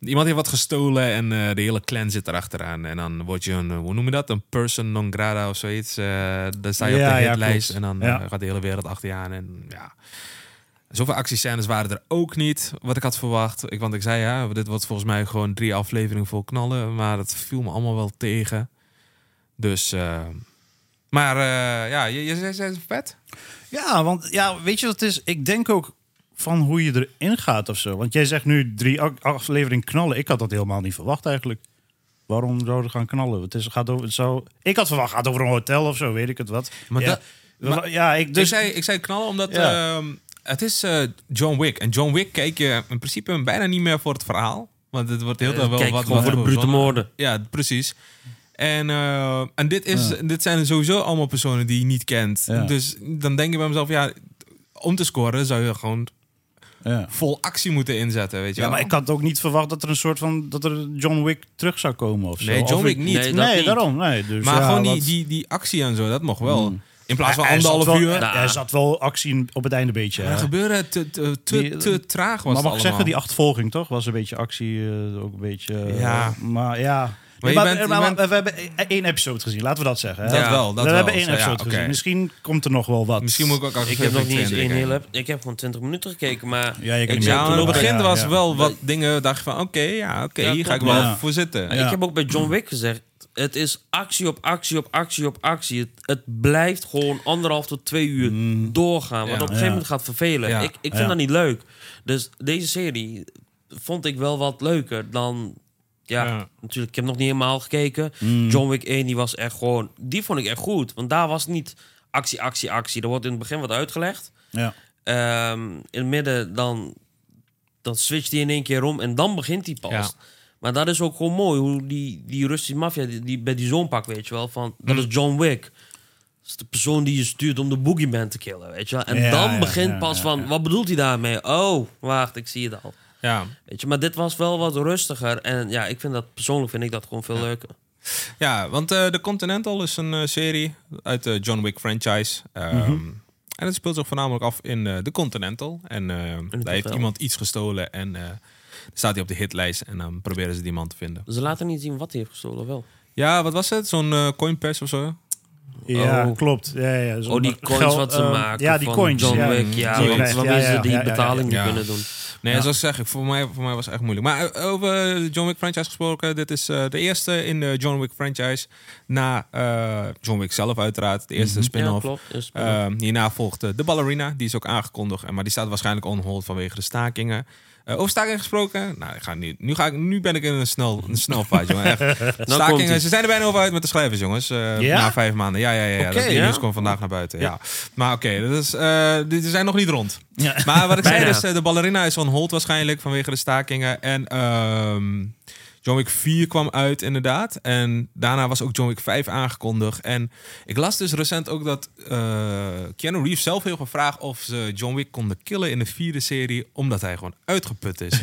S1: Iemand heeft wat gestolen en eh, de hele clan zit erachteraan. En dan word je een, eh, hoe noem je dat? Een person non grata of zoiets. Eh dan sta je op
S3: Ja,
S1: de
S3: ja,
S1: hitlijst
S3: klopt.
S1: en dan
S3: Ja.
S1: eh, gaat de hele wereld achter je aan. En ja, Zoveel actiescènes waren er ook niet, wat ik had verwacht. Ik, want ik zei ja, dit wordt volgens mij gewoon drie afleveringen vol knallen. Maar dat viel me allemaal wel tegen. Dus, eh, maar eh, ja, je, je zei ze is vet.
S3: Ja, want ja, weet je wat het is? Ik denk ook van hoe je erin gaat of zo. Want jij zegt nu drie a- afleveringen knallen. Ik had dat helemaal niet verwacht eigenlijk. Waarom zouden we gaan knallen? Het is, gaat over, het zou, ik had verwacht, het gaat over een hotel of zo, weet ik het wat.
S1: Maar
S3: ja,
S1: dat-
S3: wa- ja, ik
S1: Dus ik
S3: dus...
S1: zei, ik zei knallen omdat
S3: Ja.
S1: ehm, het is eh, John Wick. En John Wick kijk je in principe bijna niet meer voor het verhaal. Want het wordt heel
S2: Eh,
S1: tijd wel
S2: kijk
S1: wat...
S2: gewoon
S1: wat
S2: voor de brute
S1: verzonnen.
S2: moorden.
S1: Ja, precies. En, eh, en dit, is, dit zijn sowieso allemaal personen die je niet kent.
S3: Ja.
S1: Dus dan denk je bij mezelf, ja, om te scoren zou je gewoon
S3: ja.
S1: vol actie moeten inzetten, weet je
S3: ja,
S1: wel.
S3: maar ik had ook niet verwacht dat er een soort van... dat er John Wick terug zou komen of zo.
S1: Nee, John
S3: Of
S1: Wick
S3: ik-
S1: niet.
S2: Nee, dat
S3: Nee,
S2: niet.
S3: daarom. Nee, dus
S1: maar
S3: ja,
S1: gewoon die,
S3: wat- Hmm.
S1: die, die actie en zo, dat mocht wel. In plaats van
S3: Er zat
S1: anderhalf
S3: wel-
S1: uur.
S2: Nou,
S3: Er, er zat wel actie op het einde een beetje.
S1: Er
S3: hè.
S1: gebeurde te, te, te,
S3: Die-
S1: te traag was het
S3: maar mag ik
S1: allemaal.
S3: zeggen, die achtervolging toch? Was een beetje actie, eh, ook een beetje... eh,
S1: Ja.
S3: Maar ja...
S1: Maar je
S3: Nee,
S1: bent- je bent-
S3: we hebben e- één episode gezien, laten we dat zeggen. Hè?
S1: Dat wel, dat
S3: we
S1: wel.
S3: hebben één
S1: Zo, ja,
S3: episode
S1: oké.
S3: gezien. Misschien komt er nog wel wat.
S1: Misschien moet ik ook
S2: Ik heb nog niet eens één
S1: heel
S2: heel... ep- Ik heb gewoon 20 minuten gekeken, maar...
S3: Ja, je
S2: ik
S3: kan niet
S1: Ja,
S2: zei
S3: meer
S1: aan het
S2: toen ook-
S1: begin
S3: Ja,
S1: was
S3: ja.
S1: wel wat dingen, dacht je van oké, ja, oké,
S2: Ja,
S1: hier ga ik
S2: klopt.
S1: wel
S3: Ja.
S1: voor zitten.
S2: Ik heb ook bij John Wick gezegd... Het is actie op actie op actie op actie. Het, het blijft gewoon anderhalf tot twee uur doorgaan.
S1: Ja.
S2: Wat op een
S3: Mm. Ja.
S2: gegeven moment gaat vervelen.
S1: Ja.
S2: Ik, ik vind
S3: Ja.
S2: dat niet leuk. Dus deze serie vond ik wel wat leuker dan... Ja,
S1: Ja.
S2: natuurlijk. Ik heb nog niet helemaal gekeken.
S3: Mm.
S2: John Wick 1, die was echt gewoon... Die vond ik echt goed. Want daar was niet actie, actie, actie. Er wordt in het begin wat uitgelegd.
S3: Ja.
S2: Ehm, in het midden, dan, dan switcht hij in één keer om en dan begint hij pas.
S1: Ja.
S2: Maar dat is ook gewoon mooi, hoe die, die Russische maffia, die, die bij die zoon pak, weet je wel, van
S3: Hm.
S2: dat is John Wick. Dat is de persoon die je stuurt om de boogeyman te killen, weet je wel. En
S3: Ja,
S2: dan
S3: ja,
S2: begint
S3: ja,
S2: pas
S3: ja,
S2: van, wat bedoelt hij daarmee? Oh, wacht, ik zie het al.
S1: Ja.
S2: Weet je, maar dit was wel wat rustiger. En ja, ik vind dat, persoonlijk vind ik dat gewoon veel leuker.
S1: Ja, want eh The Continental is een eh, serie uit de John Wick franchise. Ehm,
S2: Mhm.
S1: En het speelt zich voornamelijk af in eh The Continental. En eh, daar heeft
S2: hotel.
S1: iemand iets gestolen en eh, dan staat hij op de hitlijst. En dan proberen ze die man te vinden.
S2: Ze laten niet zien wat hij heeft gestolen, wel.
S1: Ja, wat was het? Zo'n eh coin purse of zo?
S3: Ja,
S2: Oh.
S3: klopt. Ja, ja, zo-
S2: Oh, die coins
S3: geld,
S2: wat ze
S3: eh,
S2: maken
S3: Ja, die
S2: van
S3: coins.
S2: John
S3: ja.
S2: Wick, ja.
S3: Die je
S1: want
S2: Want
S3: krijgt,
S2: waarmee
S3: ja,
S2: ze
S3: ja,
S2: die
S3: ja, ja, ja.
S2: betaling
S1: Ja.
S2: niet kunnen doen.
S1: Nee, zoals ik zeg, ik- voor mij, voor mij was het echt moeilijk. Maar eh, over de John Wick franchise gesproken, dit is eh, de eerste in de John Wick franchise. Na eh, John Wick zelf uiteraard, de eerste
S2: Ja,
S1: spin-off.
S2: klopt. Een spin-off.
S1: Ehm, hierna volgt eh, de ballerina, die is ook aangekondigd, eh, maar die staat waarschijnlijk on hold vanwege de stakingen. Eh, over staking gesproken. Nou, ik ga niet, nu, ga ik, nu ben ik in een snel, een snel fight, jongen. Echt. Staking,
S2: komt-ie.
S1: ze zijn er bijna over uit met de schrijvers, jongens. eh,
S3: Ja?
S1: Na vijf maanden. Ja, ja, ja. ja.
S3: Oké,
S1: dat die
S3: ja.
S1: nieuws komt vandaag naar buiten. Ja. Maar oké, dat is, eh, die die zijn nog niet rond.
S3: Ja.
S1: Maar wat ik zei,
S2: Bijna.
S1: dus, eh, de ballerina is on hold waarschijnlijk vanwege de stakingen. En ehm, John Wick 4 kwam uit inderdaad. En daarna was ook John Wick 5 aangekondigd. En ik las dus recent ook dat eh Keanu Reeves zelf heel gevraagd of ze John Wick konden killen in de vierde serie. Omdat hij gewoon uitgeput is.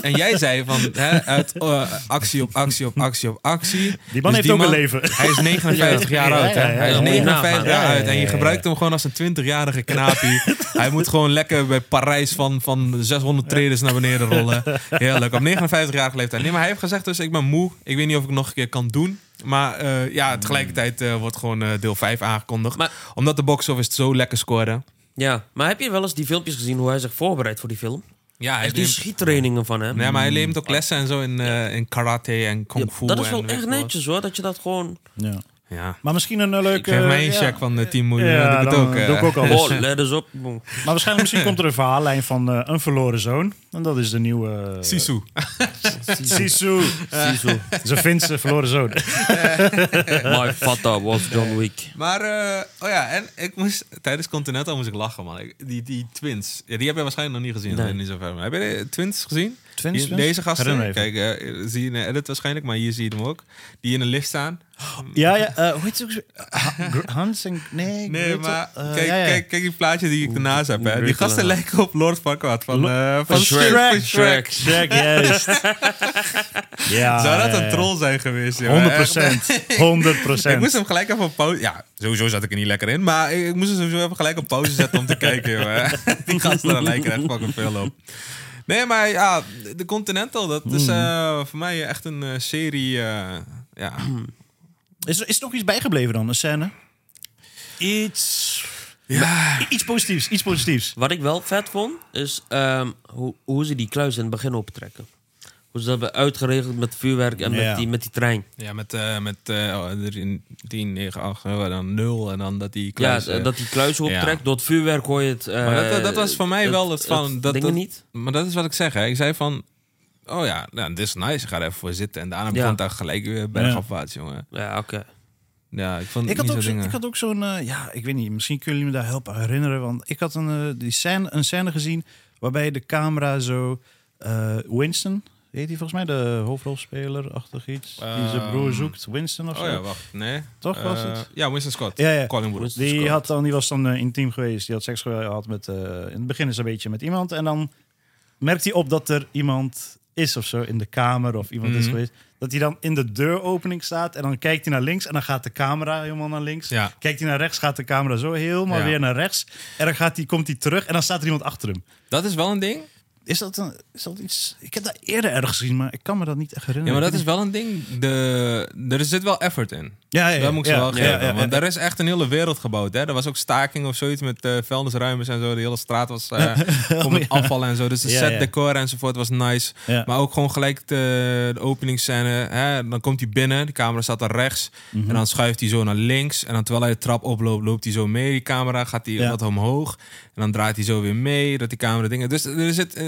S1: en jij zei van hè, uit eh, actie op actie op actie op actie. Dus
S3: Die man heeft ook een leven.
S1: Hij is 59
S3: Ja.
S1: jaar oud.
S3: Ja,
S1: hè?
S3: ja, ja,
S1: hij is
S2: ja.
S1: 59 jaar
S2: Ja,
S1: oud. En je gebruikt hem gewoon als een 20-jarige knaapie. hij moet gewoon lekker bij Parijs van, van 600 tredes naar beneden rollen. Heerlijk. Op 59-jarige leeftijd. Nee, maar hij heeft gezegd dus ik ben moe. Ik weet niet of ik het nog een keer kan doen. Maar eh, ja, tegelijkertijd eh, wordt gewoon eh, deel 5 aangekondigd.
S2: Maar-
S1: Omdat de box-office het zo lekker scoorde.
S2: Ja, maar heb je wel eens die filmpjes gezien hoe hij zich voorbereidt voor die film?
S1: Ja, hij
S2: Echt die
S1: neemt-
S2: schiettrainingen van hem.
S1: Ja, maar hij neemt ook lessen en zo in, eh, in karate en kung
S2: Ja,
S1: fu.
S2: dat is
S1: en
S2: wel
S1: weet ik
S2: echt
S1: wat.
S2: netjes hoor, dat je dat gewoon...
S3: Ja.
S1: Ja.
S3: Maar misschien een eh, leuke...
S1: Ik geef mij een
S3: ja.
S1: check van eh, 10 miljoen.
S3: Ja,
S1: dat
S3: dan
S1: ook, eh.
S3: doe ik ook al.
S2: Oh, let eens op.
S3: Maar waarschijnlijk misschien komt er een verhaallijn van eh, een verloren zoon. En dat is de nieuwe... eh,
S1: Sisu.
S3: Sisu. Zijn Finse verloren zoon.
S2: My father was John Wick.
S1: Maar, eh, oh ja, en ik moest, tijdens Continental moest ik lachen, man. Ik- die, die twins, ja, die heb je waarschijnlijk nog niet gezien.
S2: Nee.
S1: Nee. Niet zo ver. Maar Heb je de twins gezien?
S3: Twins,
S1: Die-
S3: twins?
S1: Deze gasten,
S3: Herinner me
S1: kijk, eh, zie je in de edit waarschijnlijk, maar hier zie je hem ook. Die in een lift staan.
S3: Ja, ja. eh, hoe heet ze ook? zo- Ha- Gr- Hans en... Nee,
S1: Nee,
S3: Gretel?
S1: maar
S3: Eh,
S1: kijk,
S3: ja, ja.
S1: Kijk, kijk die plaatje die ik ernaast heb. Hè. Die
S2: Gretel,
S1: gasten
S2: ja.
S1: lijken op Lord Farquaad van, eh, van,
S2: Shrek.
S1: Shrek. van
S2: Shrek.
S1: Shrek.
S3: Check, juist. ja,
S1: Zou dat
S3: Ah, ja,
S1: een
S3: ja.
S1: troll zijn geweest? joh?
S3: 100
S1: Echt.
S3: procent. 100
S1: Ik moest hem gelijk even op pauze... Ja, sowieso zat ik er niet lekker in. Maar ik, ik moest hem sowieso even gelijk op pauze zetten om te kijken. Joh. Die gasten daar lijken echt fucking veel op. Nee, maar ja, de Continental, dat is eh, voor mij echt een eh, serie... eh, ja.
S3: Is, er- is er nog iets bijgebleven dan, een scène? Iets...
S1: ja,
S3: I- Iets positiefs, iets positiefs.
S2: Wat ik wel vet vond, is ehm, hoe, hoe ze die kluis in het begin opentrekken. Hoe ze dat hebben uitgeregeld met vuurwerk en
S3: Ja.
S2: met, die, met die trein.
S1: ja, met, eh met eh, oh, 10, 9, 8, eh, dan 0 en dan dat die kluis...
S2: ja,
S1: eh,
S2: dat die kluis optrekt.
S1: ja.
S2: Door het vuurwerk hoor je het... eh,
S1: Maar dat, dat was voor mij wel het van... Dat,
S2: dingen
S1: dat-
S2: niet.
S1: Maar dat is wat ik zeg. Hè. Ik zei van... Oh ja, nou, dit is nice. Ik ga er even voor zitten. En daarna
S2: Ja.
S1: begon het daar gelijk weer bergafwaarts, jongen.
S2: Ja, oké.
S1: Ja, ik vond
S3: Ik
S1: het
S3: had,
S1: niet
S3: ook
S1: zo
S3: zo,
S1: dingen.
S3: ik had ook zo'n, eh, ja, ik weet niet, misschien kunnen jullie me daar helpen herinneren. Want ik had een, eh, die scène, een scène gezien waarbij de camera zo, eh, Winston, heet hij volgens mij, de hoofdrolspeler-achtig iets, die zijn broer
S1: Ehm,
S3: zoekt, Winston of zo.
S1: Oh ja, wacht. Nee.
S3: Toch
S1: Eh,
S3: was het?
S1: Ja, Winston Scott.
S3: Ja, ja.
S1: Colin Wood.
S2: Winston
S3: Die,
S2: Scott.
S3: had dan, die was dan eh, intiem geweest. Die had seks gehad met... eh, in het begin is een beetje met iemand. En dan merkt hij op dat er iemand is of zo in de kamer. Of iemand is
S1: Mhm.
S3: geweest. Dat hij dan in de deuropening staat. En dan kijkt hij naar links. En dan gaat de camera helemaal naar links.
S1: Ja.
S3: Kijkt hij naar rechts, gaat de camera zo helemaal
S1: Ja.
S3: weer naar rechts. En dan gaat hij, komt hij terug. En dan staat er iemand achter hem.
S1: Dat is wel een ding.
S3: Is dat, een, is dat iets... Ik heb dat eerder ergens gezien, maar ik kan me dat niet echt
S1: Ja,
S3: herinneren.
S1: maar dat is wel een ding. De, er zit wel effort in.
S3: Ja, ja, ja.
S1: Dat moet ik ze
S3: Ja,
S1: wel
S3: ja,
S1: geven.
S3: ja, ja.
S1: want daar is echt een hele wereld gebouwd. Hè? Er was ook staking of zoiets met eh vuilnisruimers en zo. De hele straat was eh vol met afval en zo. Dus de
S3: Ja,
S1: set
S3: ja.
S1: decor enzovoort was nice.
S3: Ja.
S1: Maar ook gewoon gelijk de, de openingsscène. Hè? Dan komt hij binnen, de camera staat daar rechts.
S3: Mhm.
S1: En dan schuift hij zo naar links. En dan terwijl hij de trap oploopt, loopt hij zo mee. Die camera gaat hij
S3: Ja.
S1: wat omhoog. En dan draait hij zo weer mee. Dat die camera dingen. Dus er zit, eh,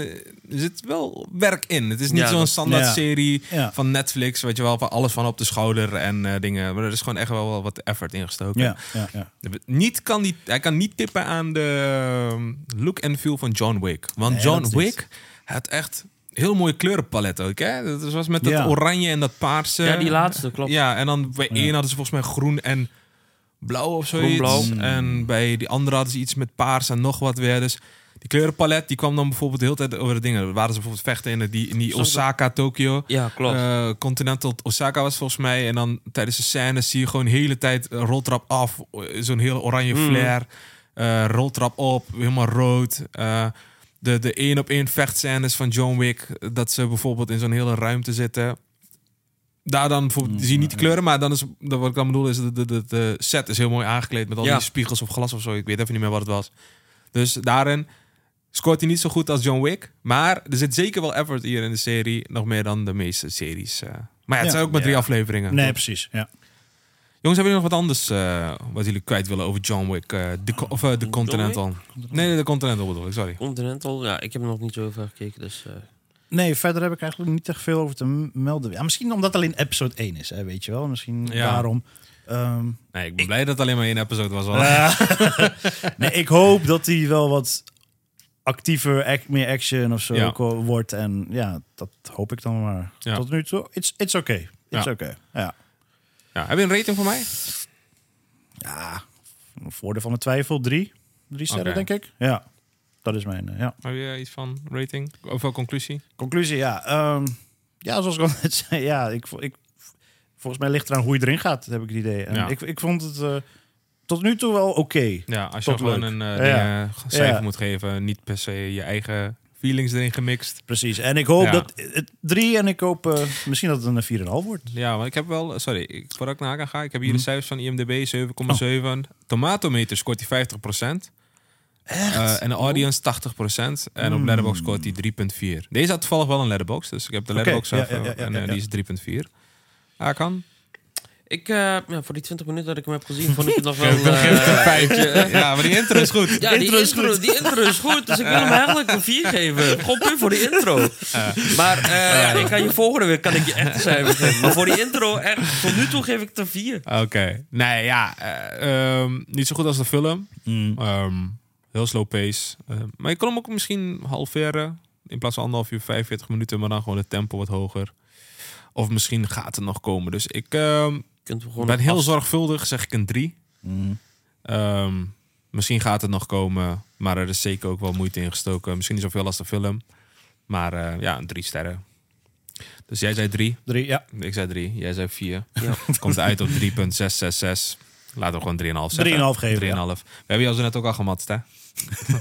S1: er zit wel werk in. Het is niet
S2: Ja,
S1: zo'n
S2: dat-
S1: standaard
S3: Ja.
S1: serie
S3: Ja.
S1: van Netflix. Weet je wel, van alles van op de schouder en eh, dingen. Maar er is gewoon echt wel wat effort ingestoken.
S3: Ja, ja, ja.
S1: Niet kan die, hij kan niet tippen aan de ehm, look en feel van John Wick. Want
S3: Nee, dat is
S1: John
S3: het.
S1: Wick had echt heel mooie kleurenpalet ook. Hè? Dat was met dat
S3: Ja.
S1: oranje en dat paarse.
S2: Ja, die laatste, klopt.
S1: Ja, en dan bij één hadden ze volgens mij groen en blauw of zoiets.
S3: Mm.
S2: Groen-blauw.
S1: En bij die andere hadden ze iets met paars en nog wat weer. Dus die kleurenpalet die kwam dan bijvoorbeeld de hele tijd over de dingen. Er waren ze bijvoorbeeld vechten in die, in die Osaka, Tokio.
S2: Ja, klopt.
S1: Eh, Continental Osaka was volgens mij. En dan tijdens de scène zie je gewoon de hele tijd een roltrap af. Zo'n hele oranje
S2: Hmm.
S1: flair. Eh, roltrap op, helemaal rood. Eh, de de één op één vechtscènes van John Wick. Dat ze bijvoorbeeld in zo'n hele ruimte zitten. Daar dan bijvoorbeeld, zie je niet de kleuren, maar dan is, dat wat ik dan bedoel is, de, de, de, de set is heel mooi aangekleed met al
S2: Ja.
S1: die spiegels of glas of zo. Ik weet even niet meer wat het was. Dus daarin scoort hij niet zo goed als John Wick. Maar er zit zeker wel effort hier in de serie. Nog meer dan de meeste series. eh. Maar ja, het
S3: Ja.
S1: zijn ook maar drie
S3: Ja.
S1: afleveringen.
S3: Nee, precies. Ja.
S1: Jongens, hebben jullie nog wat anders eh, wat jullie kwijt willen over John Wick? eh, de, co- of eh, de Continental? Nee, nee, de Continental bedoel ik, sorry.
S2: Continental, ja, ik heb er nog niet zo ver gekeken. Dus, eh,
S3: Nee, verder heb ik eigenlijk niet echt veel over te m- melden. Ja, misschien omdat het alleen episode 1 is, hè, weet je wel. Misschien
S1: Ja.
S3: daarom. Ehm,
S1: Nee, ik ben blij dat het alleen maar één episode was. Al.
S3: Eh. nee, ik hoop dat hij wel wat actiever, ac- meer action of zo
S1: Ja.
S3: ko- wordt. En ja, dat hoop ik dan maar.
S1: Ja.
S3: Tot nu toe, it's, it's okay. It's
S1: Ja.
S3: okay. Ja.
S1: Ja, heb je een rating voor mij?
S3: ja, voordeel van de twijfel, drie. Drie sterren,
S1: Oké.
S3: denk ik. Ja, dat is mijn, eh, ja.
S1: Heb je eh, iets van rating? Of wel conclusie?
S3: Conclusie, ja. ehm, ja, zoals ik al net zei, ja, ik, vo- ik, volgens mij ligt eraan hoe je erin gaat, heb ik het idee. En
S1: Ja.
S3: ik, ik vond het eh, tot nu toe wel oké.
S1: Ja, als je
S3: Tot
S1: gewoon
S3: leuk.
S1: een eh,
S3: Ja.
S1: ding, eh, cijfer
S3: Ja.
S1: moet geven, niet per se je eigen feelings erin gemixt.
S3: Precies. En ik hoop
S1: Ja.
S3: dat het drie en ik hoop eh, misschien dat het een 4,5 wordt.
S1: Ja, want ik heb wel, sorry, ik, voordat ik naar Haga ga, ik heb hier de
S3: Mhm.
S1: cijfers van
S3: Oh.
S1: IMDb 7,7. Tomatometer scoort hij 50%. Eh, en de audience 80%. En
S3: Mm.
S1: op Letterboxd scoort hij 3,4. Deze had toevallig wel een Letterboxd, dus ik heb de Letterboxd
S3: ja,
S1: zelf,
S3: ja, ja,
S1: eh, en
S3: ja,
S1: eh,
S3: ja.
S1: die is 3,4. Hakan?
S2: ik, eh, ja, voor die 20 minuten dat ik hem heb gezien, vond ik het nog wel... eh,
S1: ja, maar die intro is goed.
S2: ja, die intro, die intro is goed, dus ik wil hem eigenlijk een 4 geven. Gewoon puur voor die intro. Maar eh, ja, ik kan je volgende week kan ik je echt een cijfer geven. Maar voor die intro, echt, tot nu toe geef ik het een 4.
S1: Oké. Nee, ja. eh, ehm, niet zo goed als de film. Ehm, heel slow pace. Eh, maar je kon hem ook misschien halveren. In plaats van anderhalf uur, 45 minuten. Maar dan gewoon het tempo wat hoger. Of misschien gaat het nog komen. Dus ik ehm, ben heel zorgvuldig, zeg ik een 3. misschien gaat het nog komen. Maar er is zeker ook wel moeite in gestoken. Misschien niet zoveel als de film. Maar eh, ja, een drie sterren. Dus jij zei drie.
S3: Drie, ja.
S1: Ik zei drie, jij zei vier.
S2: Ja.
S1: Komt uit op 3,666. Laten we gewoon 3,5 zeggen.
S3: 3,5 geven,
S1: 3,5. We hebben jou zo net ook al gematst, hè?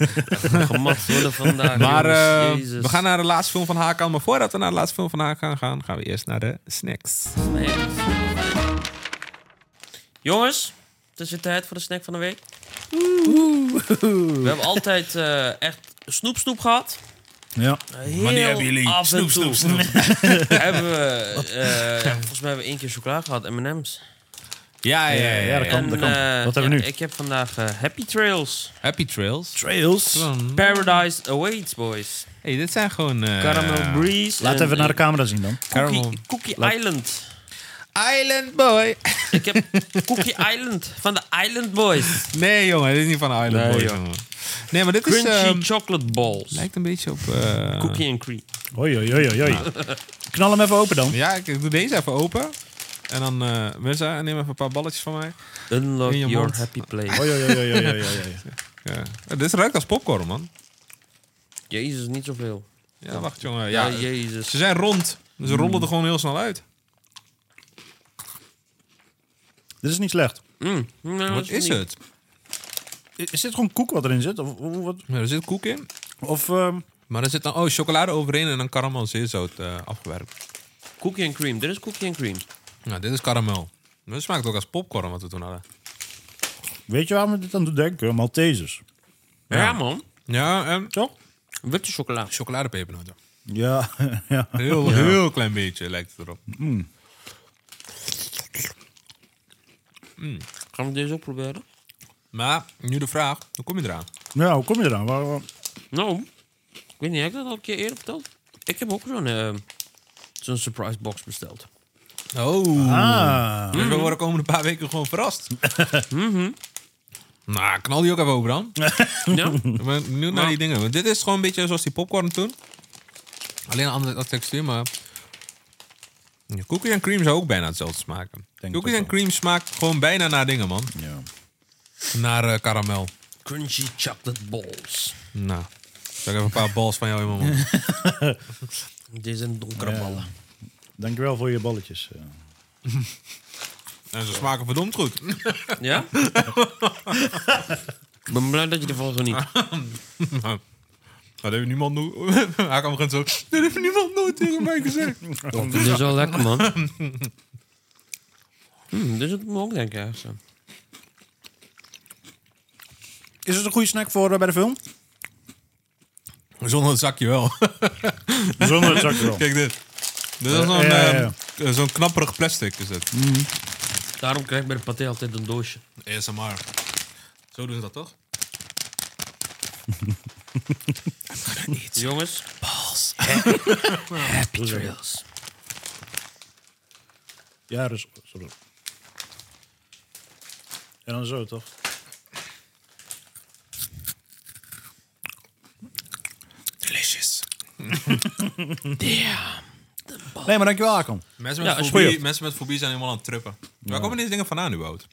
S2: gemat worden vandaag.
S1: Maar eh,
S2: jongens. Jezus.
S1: we gaan naar de laatste film van Hakan. Maar voordat we naar de laatste film van Hakan gaan, gaan we eerst naar de snacks.
S2: Nee. Jongens, het is weer tijd voor de snack van de week. We hebben altijd eh, echt snoep snoep gehad.
S3: Ja.
S2: Heel
S1: Wanneer hebben jullie
S2: af
S1: snoep,
S2: en toe
S1: snoep, snoep?
S2: hebben we, eh, ja, volgens mij hebben we één keer chocola gehad, M&M's.
S1: Ja, ja, ja. ja.
S3: dat kan.
S2: En, eh,
S3: Wat hebben we
S2: ja,
S3: nu?
S2: Ik heb vandaag eh, Happy Trails.
S1: Happy Trails.
S3: Trails.
S2: Paradise Awaits, boys.
S1: Hey, dit zijn gewoon... eh,
S2: Caramel Breeze.
S3: Laat
S2: en-
S3: even naar de camera zien dan.
S1: Caramel.
S2: Cookie, Cookie
S3: Laat-
S2: Island.
S1: Island Boy.
S2: Ik heb Cookie Island van de Island Boys.
S1: Nee, jongen. Dit is niet van Island
S2: Nee,
S1: Boy.
S2: joh.
S1: jongen. Nee, maar dit is...
S2: Crunchy
S1: ehm,
S2: chocolate balls.
S1: lijkt een beetje op... eh,
S2: Cookie and cream.
S3: Hoi, hoi, hoi, hoi, hoi. Knal hem even open dan.
S1: Ja, ik doe deze even open. En dan... eh Mirza, neem even een paar balletjes van mij.
S2: Unlock
S1: In je
S2: your
S1: mond.
S2: happy place.
S3: Hoi, hoi, hoi, hoi, hoi, hoi, hoi.
S1: Ja. Eh, Dit ruikt als popcorn, man.
S2: Jezus, niet zoveel.
S1: Ja, wacht jongen.
S2: Ja,
S1: Ja,
S2: jezus.
S1: ze zijn rond. Dus ze rollen er gewoon heel snel uit.
S3: Dit is niet slecht.
S2: Mm. Nee, dat
S1: Wat is
S2: niet-
S1: het?
S3: I- Is dit gewoon koek wat erin zit? Of, of, wat-
S1: Ja, er zit koek in.
S3: of ehm,
S1: Maar er zit dan oh, chocolade overheen en dan karamel zeerzout eh afgewerkt.
S2: Cookie and cream. Dit is cookie and cream.
S1: Nou, dit is karamel. Dat smaakt ook als popcorn wat we toen hadden.
S3: weet je waar we dit aan doen denken? Maltesers.
S2: Ja, man.
S1: Ja, ehm, en
S3: Toch?
S2: Witte chocola.
S1: chocoladepepernoten.
S3: Ja, ja.
S1: Heel, heel klein beetje lijkt het erop.
S2: Gaan we deze ook proberen?
S1: Maar nu de vraag, hoe kom je eraan?
S3: ja, hoe kom je eraan? Waar, waar-
S2: Nou, ik weet niet, heb ik dat al een keer eerder verteld? Ik heb ook zo'n eh, zo'n surprise box besteld.
S1: Oh,
S3: Ah.
S1: dus we worden komende paar weken gewoon verrast. Mhm. Nou, knal die ook even open dan.
S2: ja?
S1: Ik ben benieuwd naar die dingen. Want dit is gewoon een beetje zoals die popcorn toen. Alleen een andere textuur, maar... Ja, cookies en cream zou ook bijna hetzelfde smaken.
S3: het
S1: cookies
S3: ook
S1: en cream smaakt gewoon bijna naar dingen, man.
S3: Ja.
S1: Naar eh, karamel.
S2: Crunchy chocolate balls.
S1: Nou, zal ik even een paar balls van jou in mijn mond.
S2: Deze zijn donkere ballen.
S3: Dankjewel voor je balletjes. eh.
S1: En ze smaken verdomd goed.
S2: Ja? ik ben blij dat je ervan geniet.
S1: Nou, dat heeft niemand nooit... Hij kan begint zo... Dat heeft niemand nooit tegen mij gezegd.
S2: Dit is wel lekker, man. Mm, dit is het me ook denken, echt. zo.
S3: Is het een goede snack voor eh, bij de film?
S1: Zonder het zakje wel.
S3: Zonder het zakje wel.
S1: Kijk dit. Dit is zo'n
S3: ja, ja,
S1: ehm, zo'n knapperig plastic. Is het.
S2: Daarom krijg ik bij de paté altijd een doosje.
S1: ASMR. Zo doen ze dat toch?
S2: Jongens. Pals. Happy trails.
S3: Ja, dus zo doen. En dan zo, toch?
S1: Delicious.
S3: Nee, maar dankjewel, Akon.
S1: Mensen met,
S2: Ja, is
S1: fobie,
S2: goed.
S1: mensen met fobie zijn helemaal aan het truppen. Waar komen deze dingen vandaan überhaupt?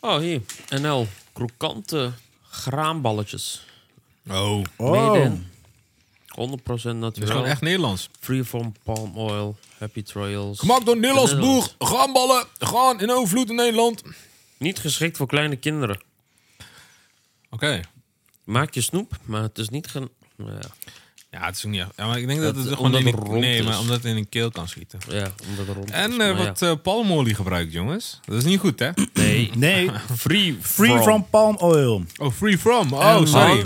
S2: Oh, hier. NL. Krokante graanballetjes.
S1: Oh.
S2: Made in. 100%
S1: is gewoon
S2: natuurlijk.
S1: echt Nederlands.
S2: Free from palm oil. Happy trails.
S1: door
S2: Nederlands boer.
S1: Gaanballen. Gaan in overvloed in Nederland. Oké.
S2: Niet geschikt voor kleine kinderen. Maak je snoep, maar het is niet gen... nou Ja,
S1: Ja, het is ook niet echt- Ja, maar ik denk dat
S2: Het-
S1: het gewoon
S2: omdat
S1: in
S2: het
S1: een,
S2: rond
S1: Nee,
S2: is.
S1: maar omdat het in een keel kan schieten.
S2: ja omdat er rond
S1: En
S2: is,
S1: eh,
S2: maar
S1: wat
S2: ja.
S1: eh, palmolie gebruikt, jongens. Dat is niet goed, hè?
S2: Nee.
S3: Nee,
S2: Free,
S3: free from, palm oil.
S1: Oh, free from. Oh, sorry.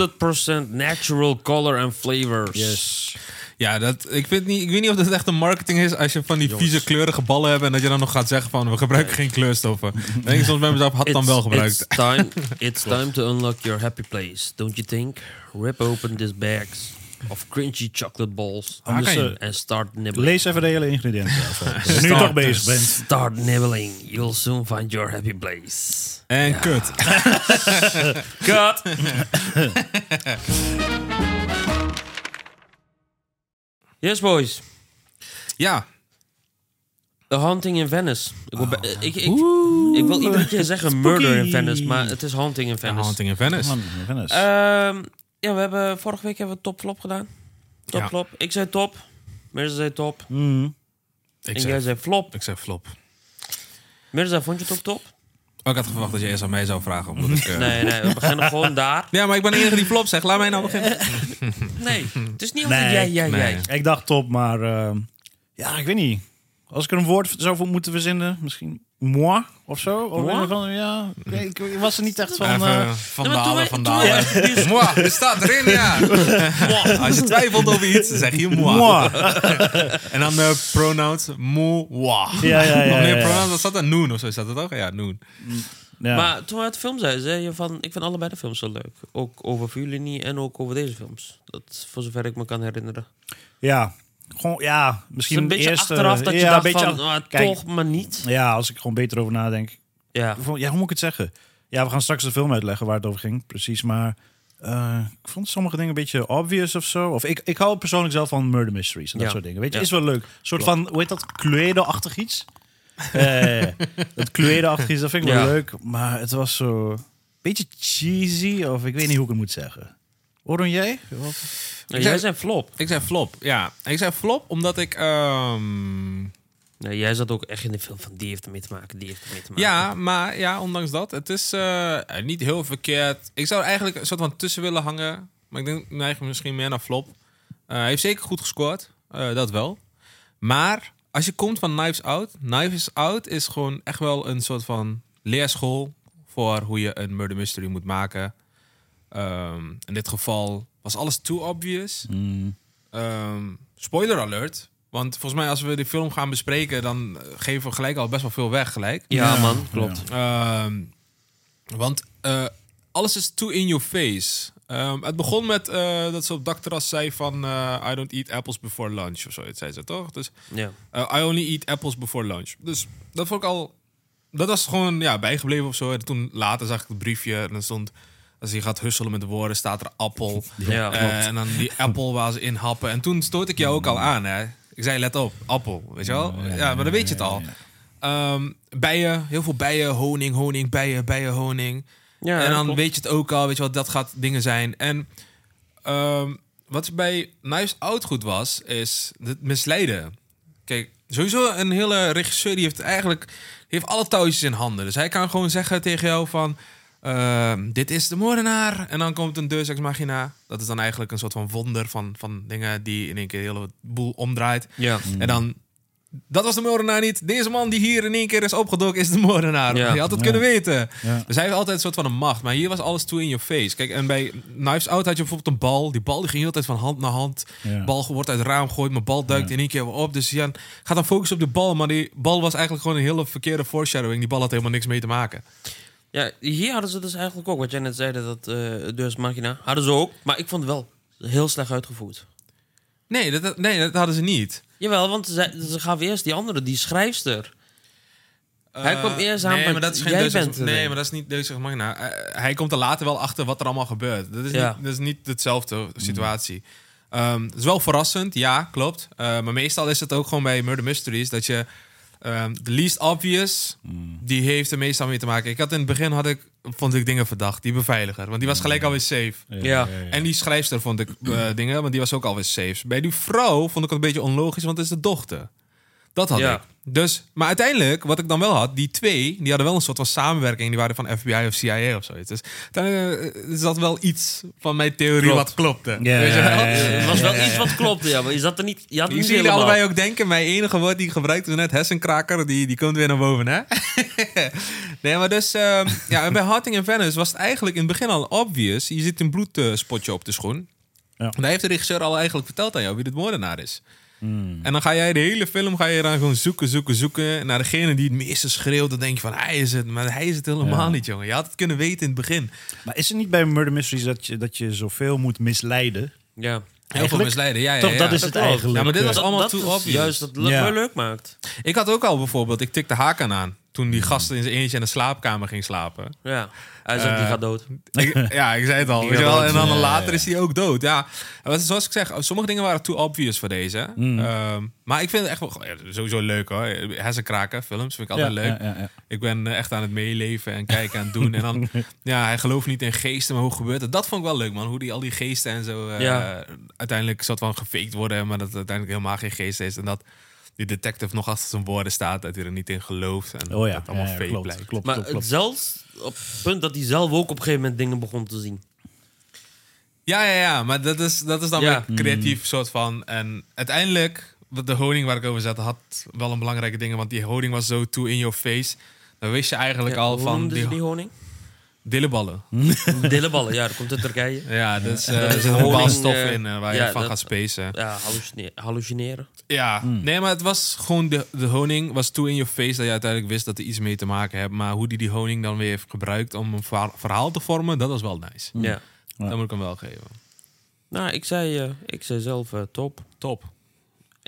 S2: 100% natural color and flavors.
S3: Yes.
S1: Ja, dat, ik, vind niet, ik weet niet of dat echt een marketing is als je van die vieze kleurige ballen hebt en dat je dan nog gaat zeggen van we gebruiken geen kleurstoffen. Dan denk ik soms bij mezelf, had dan wel gebruikt.
S2: It's time, it's time to unlock your happy place, don't you think? Rip open these bags of cringy chocolate balls
S1: Ah, kan je-
S2: and start nibbling.
S3: eh, Lees even de hele ingrediënten. af. Als je nu
S2: Start
S3: toch
S2: to-
S3: bezig bent.
S2: Start nibbling, you'll soon find your happy place.
S1: En kut.
S2: Cut! yes, boys.
S1: Ja,
S2: The Haunting in Venice. Ik wil, be-
S1: Oh.
S2: ik, ik, ik wil iedere keer zeggen Murder in Venice, maar het is Haunting in Venice.
S1: Haunting in Venice.
S3: Man, Venice.
S2: Ehm, ja, we hebben vorige week hebben we top flop gedaan. Top
S1: Ja. Mm.
S2: flop. Ik zei top. Mirza zei top.
S1: Ik
S2: en jij
S1: zeg,
S2: zei flop.
S1: ik zeg flop.
S2: Mirza, vond je het ook top?
S1: Oh, ik had verwacht dat je eerst aan mij zou vragen. Omdat ik, eh,
S2: Nee, nee, we beginnen gewoon daar.
S1: Ja, maar ik ben de enige die flop zegt. Laat mij nou beginnen.
S2: Nee, het is niet
S3: Nee.
S2: altijd jij, jij,
S1: Nee.
S2: jij.
S3: Ik dacht top, maar ehm, ja, ik weet niet. Als ik er een woord zou voor moeten verzinnen, misschien moi of zo. Of
S2: Moi?
S3: een Van, ja, ik, weet- ik- ik was er niet echt van.
S1: Even
S3: eh,
S1: van
S2: Nee, maar toen
S1: dalen,
S2: wij-
S1: van
S2: toen wij-
S1: dalen. Mwah, het staat erin, ja. Als je twijfelt over iets, dan zeg je moi.
S3: moi.
S1: En dan eh, pronouns mo, wa.
S3: Ja, ja, ja,
S1: Of
S3: ja,
S1: nee,
S3: ja.
S1: pronouns, dat staat er noon of zo. Staat dat ook? Ja, noon.
S3: Ja.
S2: Maar toen we uit de film zeiden, zei je van... Ik vind allebei de films zo leuk. Ook over Vuurlinie en ook over deze films. Dat is voor zover ik me kan herinneren. Het
S3: ja, gewoon ja,
S2: is
S3: misschien
S2: een beetje
S3: de eerste,
S2: achteraf dat je
S3: ja,
S2: dacht
S3: een beetje
S2: van...
S3: ach-
S2: ah,
S3: Kijk,
S2: toch, maar niet.
S3: Ja, als ik gewoon beter over nadenk.
S2: Ja.
S3: Van, ja, hoe moet ik het zeggen? Ja, we gaan straks de film uitleggen waar het over ging, precies. Maar eh, ik vond sommige dingen een beetje obvious of zo. Of ik, ik hou persoonlijk zelf van murder mysteries en dat
S2: Ja.
S3: soort dingen. Weet je,
S2: Ja.
S3: is wel leuk. Een soort van, hoe heet dat? Cluedo-achtig iets. Eh, het Cluedo-achtig iets, dat vind ik
S2: Ja.
S3: wel leuk. Maar het was zo een beetje cheesy of ik weet niet hoe ik het moet zeggen. Oron jij? Of-
S2: Nou, jij zei flop.
S1: Ik zei flop, ja. Ik zei flop omdat ik... ehm,
S2: Nee, jij zat ook echt in de film van... Die heeft ermee te maken, die heeft ermee te maken.
S1: ja, maar ja, ondanks dat. Het is eh, niet heel verkeerd. Ik zou er eigenlijk een soort van tussen willen hangen. Maar ik denk ik neig misschien meer naar flop. Eh, Hij heeft zeker goed gescoord. eh, dat wel. Maar als je komt van Knives Out... Knives Out is gewoon echt wel een soort van leerschool... voor hoe je een murder mystery moet maken. Ehm, in dit geval was alles too obvious. Ehm, spoiler alert. Want volgens mij als we die film gaan bespreken... dan eh, geven we gelijk al best wel veel weg gelijk.
S2: Ja, man, klopt.
S1: Ehm, want eh, alles is too in your face. Ehm, het begon met eh, dat ze op dakterras zei van... eh, I don't eat apples before lunch of zoiets, zei ze toch? Dus
S2: Ja.
S1: eh, I only eat apples before lunch. Dus dat vond ik al... Dat was gewoon ja, bijgebleven of zo. En toen later zag ik het briefje en dan stond... Als je gaat husselen met de woorden, staat er appel.
S2: Ja,
S1: Eh,
S2: klopt.
S1: en dan die appel waar ze in happen. En toen stoot ik jou ook al aan, hè. Ik zei, let op, appel, weet je wel? Oh, Ja, maar dan weet je het al. Ehm, bijen, heel veel bijen, honing, honing, bijen, bijen, honing.
S2: Ja,
S1: en dan
S2: klopt.
S1: weet je het ook al, weet je wel, dat gaat dingen zijn. En ehm, wat bij Knives Out goed was, is het misleiden. Kijk, sowieso een hele regisseur die heeft eigenlijk die heeft alle touwtjes in handen. Dus hij kan gewoon zeggen tegen jou van... ehm, dit is de moordenaar. En dan komt een Deus Ex Machina. Dat is dan eigenlijk een soort van wonder van, van dingen... die in één keer de hele boel omdraait.
S2: Ja.
S1: Mm. En dan dat was de moordenaar niet. Deze man die hier in één keer is opgedoken is de moordenaar.
S2: Ja.
S1: Je had het
S3: Ja.
S1: kunnen weten.
S3: Ja.
S1: Dus hij heeft altijd een soort van een macht. Maar hier was alles toe in your face. Kijk, en bij Knives Out had je bijvoorbeeld een bal. Die bal die ging altijd van hand naar hand.
S3: Ja.
S1: Bal wordt uit het raam gegooid, maar bal duikt in één keer op. Dus Jan gaat dan focussen op de bal. Maar die bal was eigenlijk gewoon een hele verkeerde foreshadowing. Die bal had helemaal niks mee te maken.
S2: Ja, hier hadden ze dus eigenlijk ook, wat jij net zei, dat eh Deus Machina, hadden ze ook. Maar ik vond het wel heel slecht uitgevoerd.
S1: Nee, dat- dat, nee, dat hadden ze niet.
S2: Jawel, want ze, ze gaven eerst die andere, die schrijfster. Hij
S1: Eh,
S2: kwam eerst aan
S1: nee,
S2: met
S1: maar dat is geen
S2: jij
S1: Deus Ex-
S2: bent er
S1: Nee,
S2: een.
S1: maar dat is niet Deus Ex Machina. Eh, hij komt er later wel achter wat er allemaal gebeurt. Dat is,
S2: Ja. Mm.
S1: niet, dat is niet dezelfde situatie. Ehm, het is wel verrassend, ja, klopt. Eh, maar meestal is het ook gewoon bij murder mysteries dat je ehm, de least obvious die heeft er meestal mee te maken. Ik had in het begin had ik vond ik dingen verdacht, die beveiliger, want die was gelijk alweer safe.
S2: Ja.
S1: En die schrijfster vond ik eh, dingen, want die was ook alweer safe. Bij die vrouw vond ik het een beetje onlogisch, want het is de dochter. Dat had
S2: Ja.
S1: ik. Dus, maar uiteindelijk, wat ik dan wel had, die twee, die hadden wel een soort van samenwerking. Die waren van FBI of CIA of zoiets. Dus uiteindelijk eh, is dat wel iets van mijn theorie
S2: Klopt.
S1: wat klopte.
S3: Ja,
S1: Weet je
S3: ja,
S1: wel?
S3: ja, ja,
S2: Het was wel
S1: eh,
S2: iets wat klopte, ja. Maar je zat er niet... Je had het
S1: Ik
S2: niet
S1: zie jullie
S2: helemaal.
S1: allebei ook denken, mijn enige woord die ik gebruikte toen net, hersenkraker, die, die komt weer naar boven, hè? nee, maar dus, ehm, ja, en bij Harting en Venice was het eigenlijk in het begin al obvious. Je zit een bloedspotje op de schoen.
S3: Ja.
S1: En daar heeft de regisseur al eigenlijk verteld aan jou wie de moordenaar is.
S3: Hmm.
S1: En dan ga jij de hele film ga je dan gewoon zoeken, zoeken, zoeken. Naar degene die het meeste schreeuwt, dan denk je van hij is het. Maar hij is het helemaal
S3: Ja.
S1: niet, jongen. Je had het kunnen weten in het begin.
S3: Maar is het niet bij murder mysteries dat je, dat je zoveel moet misleiden?
S2: Ja.
S1: Heel veel misleiden, ja, ja,
S3: Toch,
S1: ja.
S3: dat is het
S2: klopt.
S3: eigenlijk. eh.
S1: Ja, maar dit was
S2: Dat-
S1: allemaal
S2: dat
S1: too
S2: is
S1: obvious.
S2: juist dat het
S3: Ja.
S2: wel leuk maakt.
S1: Ik had ook al bijvoorbeeld, ik tikte Hakan aan. Toen die gast in zijn eentje in de slaapkamer ging slapen.
S2: Ja. Hij zegt, die gaat dood.
S1: Ik- ja, ik zei het al. Weet je wel? En dan later is hij ook dood. Ja, Maar zoals ik zeg, sommige dingen waren too obvious voor deze.
S3: Mm.
S1: Ehm, maar ik vind het echt wel ja, sowieso leuk hoor. Hersenkraken, films vind ik altijd
S3: Ja,
S1: leuk.
S3: ja, ja, ja.
S1: Ik ben eh, echt aan het meeleven en kijken en doen. En dan, ja, hij gelooft niet in geesten, maar hoe gebeurt dat? Dat vond ik wel leuk man. Hoe die al die geesten en zo eh,
S2: Ja.
S1: uiteindelijk soort van gefaked worden. Maar dat het uiteindelijk helemaal geen geest is. En dat die detective nog achter zijn woorden staat. Dat hij er niet in gelooft. En
S3: Oh
S1: dat
S3: ja,
S1: het allemaal
S3: ja, ja,
S1: fake
S3: klopt,
S1: blijkt.
S3: klopt,
S2: Maar
S3: klopt, klopt.
S2: het zelfs op het punt dat hij zelf ook op een gegeven moment dingen begon te zien.
S1: Ja, ja, ja, maar dat is, dat is dan
S2: Ja. Mm.
S1: weer creatief soort van. En uiteindelijk, wat de honing waar ik over zat, had wel een belangrijke ding. Want die honing was zo too in your face. Dan wist je eigenlijk
S2: Ja,
S1: al
S2: hoe
S1: van
S2: noemden ze
S1: die,
S2: die honing?
S1: dilleballen.
S2: Dilleballen, ja, dat komt uit Turkije.
S1: Ja, dat is, eh,
S2: Dat is
S1: er zit een
S2: honing,
S1: bepaald stof
S2: eh,
S1: in eh, waar
S2: ja,
S1: je van
S2: dat- Hm.
S1: gaat spacen.
S2: Ja, hallucine- hallucineren.
S1: Ja, nee, maar het was gewoon de, de honing was too in your face dat je uiteindelijk wist dat er iets mee te maken hebt. Maar hoe die die honing dan weer heeft gebruikt om een verhaal, verhaal te vormen, dat was wel nice.
S2: Hm. Ja.
S1: Dat moet ik hem wel geven.
S2: Nou, ik zei, eh, ik zei zelf eh, top.
S1: Top.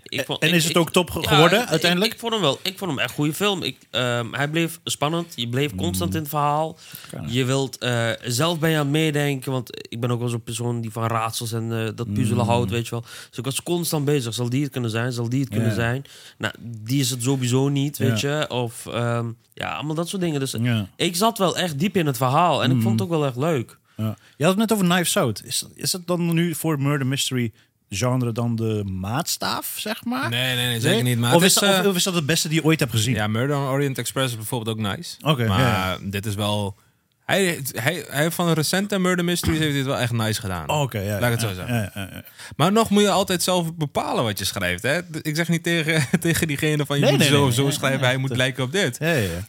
S2: Ik vond-
S3: En
S2: ik-
S3: is het
S2: ik-
S3: ook top
S2: ja,
S3: geworden
S2: ik-
S3: uiteindelijk?
S2: Ik, ik vond hem wel. Ik vond hem echt een goede film. Ik, ehm, hij bleef spannend. Je bleef constant
S3: Mm.
S2: in het verhaal. Je wilt eh, zelf ben je aan het meedenken. Want ik ben ook wel zo'n persoon die van raadsels en eh, dat puzzelen
S3: Mm.
S2: houdt, weet je wel. Dus ik was constant bezig. Zal die het kunnen zijn? Zal die het kunnen
S3: Ja.
S2: zijn? Nou, die is het sowieso niet, weet
S3: Ja.
S2: je. Of ehm, ja, allemaal dat soort dingen. Dus
S3: Ja. Mm.
S2: ik zat wel echt diep in het verhaal. En ik vond het ook wel echt leuk.
S3: Ja. Je had het net over Knives Out. Is, is het dan nu voor murder mystery genre dan de maatstaaf, zeg maar?
S1: Nee, nee, nee, zeker niet. Maar
S3: of,
S1: het
S3: is
S1: is,
S3: dat,
S1: eh,
S3: of is dat het beste die je ooit hebt gezien?
S1: Ja, Murder on Orient Express is bijvoorbeeld ook nice.
S3: Oké,
S1: maar
S3: ja, ja.
S1: dit is wel... Hij, hij, hij heeft van de recente Murder Mysteries heeft dit wel echt nice gedaan.
S3: Oh, Oké, ja,
S1: Laat
S3: ja,
S1: ik het zo
S3: ja,
S1: zeggen.
S3: ja, ja, ja.
S1: Maar nog moet je altijd zelf bepalen wat je schrijft. Hè? Ik zeg niet tegen, tegen diegene van je
S3: Nee,
S1: moet
S3: nee,
S1: zo
S3: nee,
S1: of zo
S3: nee,
S1: schrijven,
S3: nee,
S1: hij moet
S3: dat-
S1: lijken op dit.
S3: Ja, ja, ja.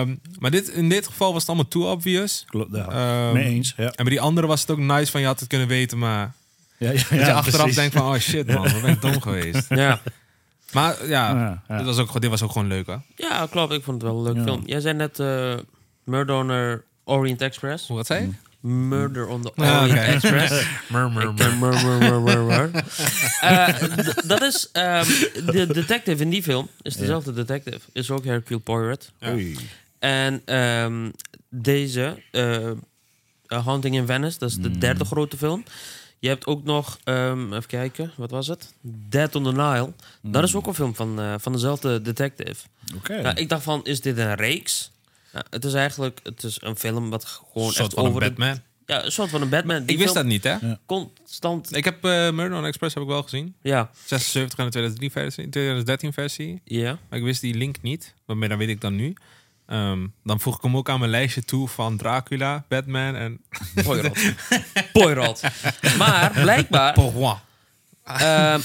S1: Ehm, maar dit, in dit geval was het allemaal too obvious.
S3: Klopt, ja.
S1: Ehm,
S3: Mee eens, ja.
S1: En bij die andere was het ook nice van je had het kunnen weten, maar
S3: Ja, ja,
S1: dat je
S3: ja,
S1: achteraf
S3: precies.
S1: denkt van oh shit man, wat ben ik dom geweest.
S2: Ja.
S1: Maar ja,
S3: Ja, ja.
S1: Dit, was ook, dit was ook gewoon leuk hoor.
S2: Ja, klopt. Ik vond het wel een leuke film. Jij zei net eh Murder on the Orient Express.
S1: Hoe wat zei je?
S3: Mm.
S2: Murder on the
S1: Ah,
S3: Oh,
S2: Orient
S1: oké.
S2: Express. Ik ken mur, mur, mur, mur, mur. Eh, d- Dat is... ehm, de detective in die film is dezelfde detective. Is ook Hercule Poirot.
S3: Oei.
S2: En ehm, deze, eh, eh, Haunting in Venice, dat is de derde grote film. Je hebt ook nog, ehm, even kijken, wat was het? Dead on the Nile. Dat is ook een film van, eh, van dezelfde detective.
S3: Oké.
S2: Nou, ik dacht van, is dit een reeks? Nou, het is eigenlijk het is een film wat gewoon
S1: Een soort
S2: echt
S1: van een
S2: over... de-
S1: Batman.
S2: ja, een soort van een Batman. Die
S1: Ik wist dat
S2: film
S1: niet hè.
S2: Constant...
S1: Ik heb eh, Murder on Express heb ik wel gezien.
S2: Ja,
S1: 76 en de 2003 versie, 2013 versie.
S2: ja.
S1: Maar ik wist die link niet. Waarmee dan weet ik dan nu. Ehm, dan voeg ik hem ook aan mijn lijstje toe van Dracula, Batman en
S2: Poirot. Poirot. Maar blijkbaar...
S1: Poirot.
S2: ehm, eh,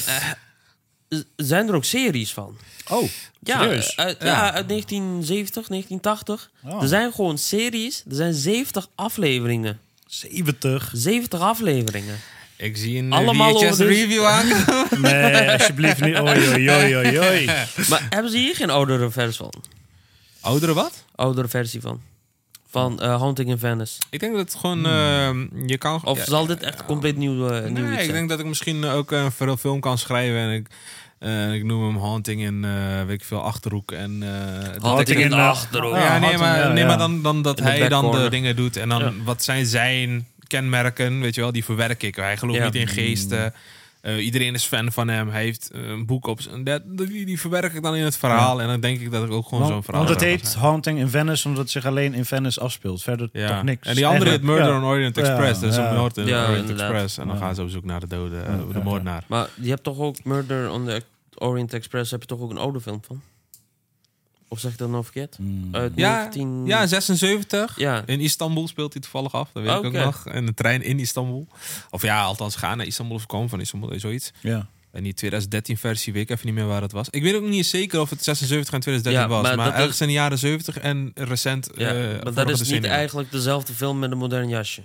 S2: z- zijn er ook series van.
S3: Oh,
S2: Ja, eh,
S3: serieus?
S2: Uit, ja. uit 1970, 1980.
S3: Oh.
S2: Er zijn gewoon series. Er zijn 70 afleveringen.
S3: 70.
S2: 70 afleveringen.
S1: Ik zie een
S2: Allemaal
S1: Allemaal VHS
S2: over de-
S1: review aan.
S3: Nee, alsjeblieft niet. Oei, oei, oei, oei, oei.
S2: Maar hebben ze hier geen oudere vers van?
S1: Oudere wat?
S2: Oudere versie van? Van eh Haunting in Venice.
S1: Ik denk dat het gewoon... eh, je kan...
S2: Hmm. Of
S1: ja,
S2: zal dit echt compleet nieuw, eh, nieuw
S1: Nee,
S2: iets
S1: ik
S2: zijn?
S1: denk dat ik misschien ook eh, een veel film kan schrijven en ik, eh, ik noem hem Haunting in, eh, weet ik veel, Achterhoek. En, eh, dat
S2: Haunting
S1: ik-
S2: in de
S3: eh,
S2: Achterhoek.
S1: ja,
S3: Ja,
S1: nee,
S3: Haunting,
S1: maar,
S3: ja,
S1: nee,
S3: ja.
S1: maar dan, dan dat
S2: In de
S1: hij dan de
S2: backcorner.
S1: dingen doet en dan wat zijn zijn kenmerken, weet je wel, die verwerk ik. Hij gelooft
S2: Ja.
S1: niet
S3: Mm.
S1: in geesten. Eh, iedereen is fan van hem. Hij heeft eh, een boek op. z'n- Dat, die, die verwerk ik dan in het verhaal. En dan denk ik dat ik ook gewoon zo'n
S3: Want,
S1: verhaal
S3: want het
S1: zou
S3: heet
S1: zijn.
S3: Haunting in Venice, omdat het zich alleen in Venice afspeelt. Verder
S1: Ja.
S3: toch niks.
S1: En die andere heet
S3: Eigenlijk,
S1: Murder
S3: ja.
S1: on Orient
S3: Ja,
S1: Express. dat is
S3: ja.
S1: een moord in
S2: Ja,
S1: Orient
S2: inderdaad.
S1: Express. En dan
S3: Ja.
S1: gaan ze op zoek naar de dode, eh, de
S3: ja.
S1: moordenaar.
S2: Maar je hebt toch ook Murder on the Orient Express, heb je toch ook een oude film van? Of zeg ik dat nou verkeerd?
S3: Mm,
S2: Uit
S1: Ja,
S2: 19...
S1: Ja, 76.
S2: Ja.
S1: In Istanbul speelt hij toevallig af. Dat weet ik
S2: Oké.
S1: ook nog. En de trein in Istanbul. Of ja, althans gaan naar Istanbul of komen van Istanbul. Zoiets.
S3: Ja.
S1: En die 2013 versie weet ik even niet meer waar het was. Ik weet ook niet zeker of het 76 en 2013
S2: Ja,
S1: was.
S2: maar
S1: Maar,
S2: dat
S1: ergens
S2: is-
S1: in de jaren 70 en recent.
S2: Ja,
S1: eh,
S2: maar dat
S1: vorige
S2: is niet
S1: decennium.
S2: eigenlijk dezelfde film met een modern jasje.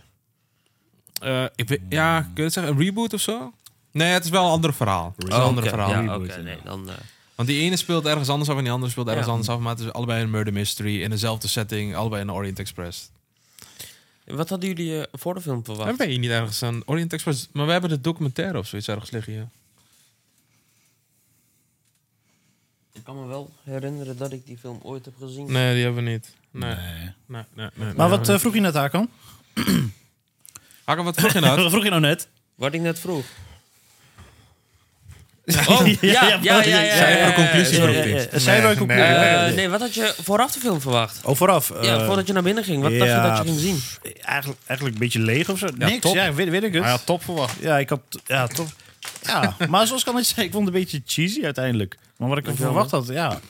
S1: Eh, ik weet, ja, kun je het zeggen? Een reboot of zo? Nee, het is wel een ander verhaal. Het is een ander
S2: Oh, oké.
S1: verhaal.
S2: Ja, oké, nee, dan... eh,
S1: Want die ene speelt ergens anders af en die andere speelt ergens
S2: Ja.
S1: anders af. Maar het is allebei een murder mystery in dezelfde setting. Allebei in de Orient Express.
S2: Wat hadden jullie eh, voor de film verwacht?
S1: Hebben wij hier niet ergens een Orient Express? Maar we hebben de documentaire of zoiets ergens liggen hier.
S2: Ik kan me wel herinneren dat ik die film ooit heb gezien.
S1: Nee, die hebben we niet. Nee.
S3: Nee.
S1: nee, nee, nee
S3: Maar wat
S1: nee.
S3: eh, vroeg je net, Hakan?
S1: Hakan, wat vroeg je nou?
S3: Wat vroeg je nou net?
S2: Wat ik net vroeg. Oh, ja, ja, ja. ja, ja,
S1: Zij
S2: ja,
S1: hebben een
S2: ja,
S1: conclusie
S2: ja, ja,
S1: vroeg
S2: ja.
S1: dit.
S3: Zijn we ook
S2: Eh,
S3: nee.
S2: nee, wat had je vooraf de film verwacht?
S3: Oh, vooraf.
S2: ja,
S3: eh,
S2: voordat je naar binnen ging. Wat dacht je
S3: ja,
S2: dat je ging zien?
S3: pff, Eh, Eigenlijk, eigenlijk een beetje leeg of zo. Niks,
S1: top.
S3: ja, weet, weet ik het.
S1: Hij had top verwacht.
S3: Ja, ik had... Ja, toch. Ja, maar zoals kan ik zeggen, ik vond het een beetje cheesy uiteindelijk. Maar wat ik ervan
S2: Dankjewel,
S3: verwacht had, ja...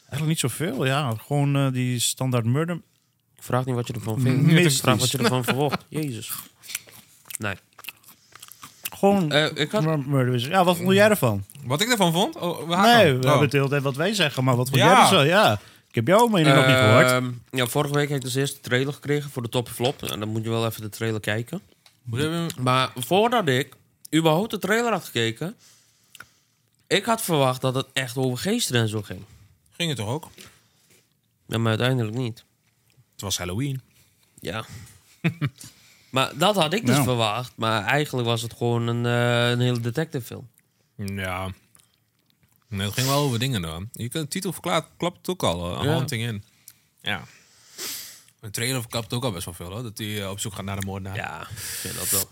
S3: Eigenlijk niet zoveel, ja. Gewoon eh, die standaard murder.
S2: Ik vraag niet wat je ervan vindt.
S3: Mystisch.
S2: Ik vraag wat je ervan verwacht. Jezus. Nee.
S3: Gewoon
S2: Eh, ik had...
S3: mur- murder. mystery. Ja, wat vond jij ervan?
S1: Wat ik ervan vond? Oh, we Hakan.
S3: Nee, we
S1: Oh.
S3: hebben het de hele tijd wat wij zeggen, maar wat vond
S1: Ja.
S3: jij ervan? Ja, ik heb jouw mening nog niet gehoord.
S2: Ehm, ja, vorige week heb ik dus eerst de trailer gekregen voor de top en flop. En dan moet je wel even de trailer kijken.
S1: Moet je even-
S2: Maar voordat ik überhaupt de trailer had gekeken... Ik had verwacht dat het echt over geesten en zo ging.
S1: Ging het toch ook?
S2: Ja, maar uiteindelijk niet.
S1: Het was Halloween.
S2: Ja. maar dat had ik dus
S3: Nou.
S2: verwacht. Maar eigenlijk was het gewoon een, eh, een hele detective film.
S1: Ja. Nee, het ging wel over dingen dan. Je kunt de titel verklaart, klapt het ook al. eh,
S2: Ja.
S1: Haunting in. Ja. Een trailer klapt ook al best wel veel hoor. Dat hij eh, op zoek gaat naar de moordenaar.
S2: Ja, ik vind dat wel.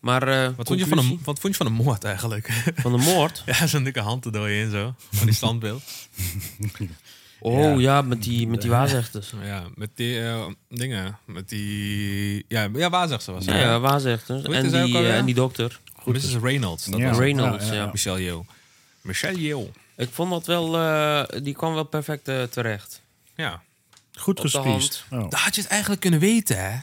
S2: Maar eh,
S1: Wat vond, je van
S2: conclusie
S1: de, wat vond je van de moord eigenlijk?
S2: van de moord?
S1: ja, zo'n dikke hand te dooien in zo. Van die standbeeld.
S2: Oh ja, met die, met die waarzegters.
S1: Ja, met die eh, dingen. Met die. Ja, ja waarzegster was
S2: Ja,
S1: hij.
S2: ja, waarzegters.
S1: Hoe heet
S2: En
S1: zij
S2: die,
S1: ook
S2: eh,
S1: alweer?
S2: en die dokter.
S1: Mrs. Reynolds. Dat
S3: Ja.
S1: was
S2: Reynolds,
S3: Ja,
S2: ja,
S3: ja, ja.
S1: Michelle Yeoh. Michelle Yeoh.
S2: Ik vond dat wel... eh, die kwam wel perfect eh, terecht.
S1: Ja.
S3: Goed
S2: op de
S3: gespiesd. Oh.
S1: Dat had je het eigenlijk kunnen weten, hè?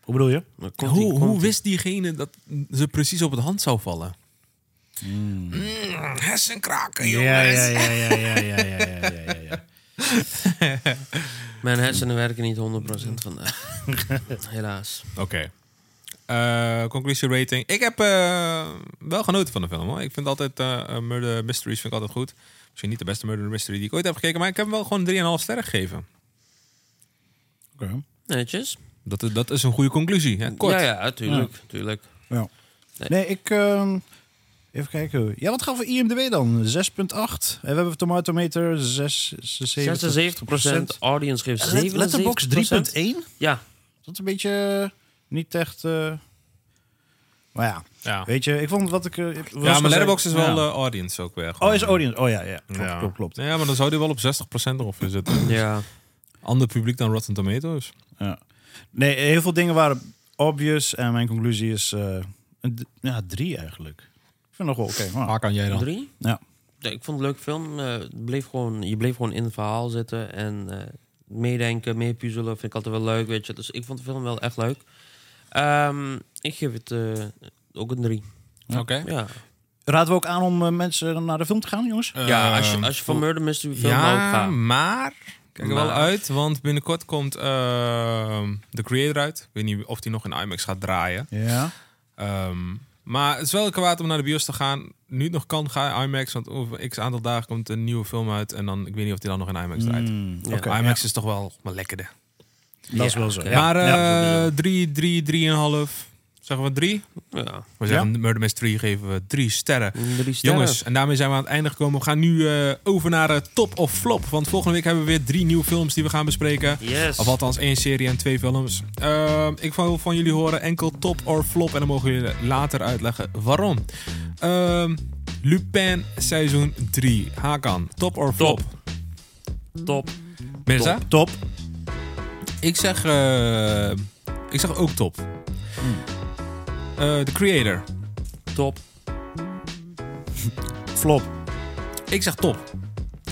S3: Hoe bedoel je?
S2: Maar komt die-
S1: hoe
S2: komt
S1: hoe
S2: die-
S1: wist diegene dat ze precies op het hand zou vallen? Mm, hersenkraken, jongens.
S3: Hmm. Ja, ja, ja, ja, ja, ja, ja, ja, ja, ja.
S2: Mijn hersenen werken niet 100% vandaag. Helaas.
S1: Oké. Eh, conclusie rating. Ik heb eh, wel genoten van de film. Hoor. Ik vind altijd eh, eh, murder mysteries vind ik altijd goed. Misschien niet de beste murder mystery die ik ooit heb gekeken, maar ik heb hem wel gewoon 3,5 sterren gegeven.
S3: Oké.
S2: Netjes.
S1: Dat, is- dat is een goede conclusie. Hè? Kort.
S2: Ja, ja, tuurlijk. tuurlijk.
S3: Ja. Nee. ik... ehm, even kijken. Ja, wat gaan we IMDb dan? 6,8. En we hebben Tomatometer 6, 76
S2: 76% audience geeft 77%.
S3: Letterbox 3,1.
S2: Ja,
S3: Dat is een beetje eh, niet echt... eh, maar ja,
S1: Ja.
S3: weet je, ik vond wat ik... eh, wat ik
S1: Ja,
S3: al zei-
S1: maar Letterboxd is wel
S3: Ja.
S1: eh, audience ook weer.
S3: Oh,
S1: gewoon.
S3: is audience. Oh ja, ja. Klopt,
S1: Ja.
S3: klopt, klopt.
S1: Ja, maar dan zou die wel op 60% ongeveer zitten.
S2: ja.
S1: Ander publiek dan Rotten Tomatoes.
S3: Ja. Nee, heel veel dingen waren obvious. En mijn conclusie is eh, een d- ja, drie eigenlijk. Ik vind het nog wel oké. maar-
S1: Waar kan jij dan?
S2: Drie?
S3: Ja.
S2: Ja, ik vond het een leuk film. Eh, het bleef gewoon, je bleef gewoon in het verhaal zitten en eh, meedenken, meer puzzelen vind ik altijd wel leuk, weet je. Dus ik vond de film wel echt leuk. Ehm, ik geef het eh, ook een drie.
S1: Oké.
S2: Ja.
S3: Raden we ook aan om eh, mensen naar de film te gaan, jongens?
S2: ja, als je,
S1: Ehm,
S2: als je van Murder Mystery film houdt,
S1: Ja,
S2: ga.
S1: maar... Kijk er wel
S2: Maar-
S1: uit, want binnenkort komt ehm The Creator uit. Ik weet niet of die nog in IMAX gaat draaien.
S3: Ja.
S1: Ehm, maar het is wel kwaad om naar de bios te gaan. Nu het nog kan, ga IMAX. Want over x aantal dagen komt een nieuwe film uit. En dan, ik weet niet of die dan nog in IMAX draait.
S3: Oké.
S1: IMAX
S3: ja.
S1: is toch wel maar lekkerder.
S3: Dat is wel zo.
S2: oké.
S3: Ja.
S1: maar
S3: Ja,
S1: eh drie, drie, drieënhalf. Zeggen we drie?
S2: Ja.
S1: We zeggen Murder Mystery geven we drie sterren.
S2: Drie sterren.
S1: Jongens, en daarmee zijn we aan het einde gekomen. We gaan nu eh, over naar eh, top of flop. Want volgende week hebben we weer drie nieuwe films die we gaan bespreken.
S2: Yes.
S1: Of althans één serie en twee films. Ehm, ik wil van jullie horen enkel top of flop. En dan mogen jullie later uitleggen waarom. Ehm, Lupin seizoen 3. Hakan, top of flop?
S2: Top. Top.
S1: Mirza?
S3: Top.
S1: Ik zeg, eh, ik zeg ook top.
S3: Hmm.
S1: Eh, The Creator.
S2: Top.
S3: Flop.
S1: Ik zeg top.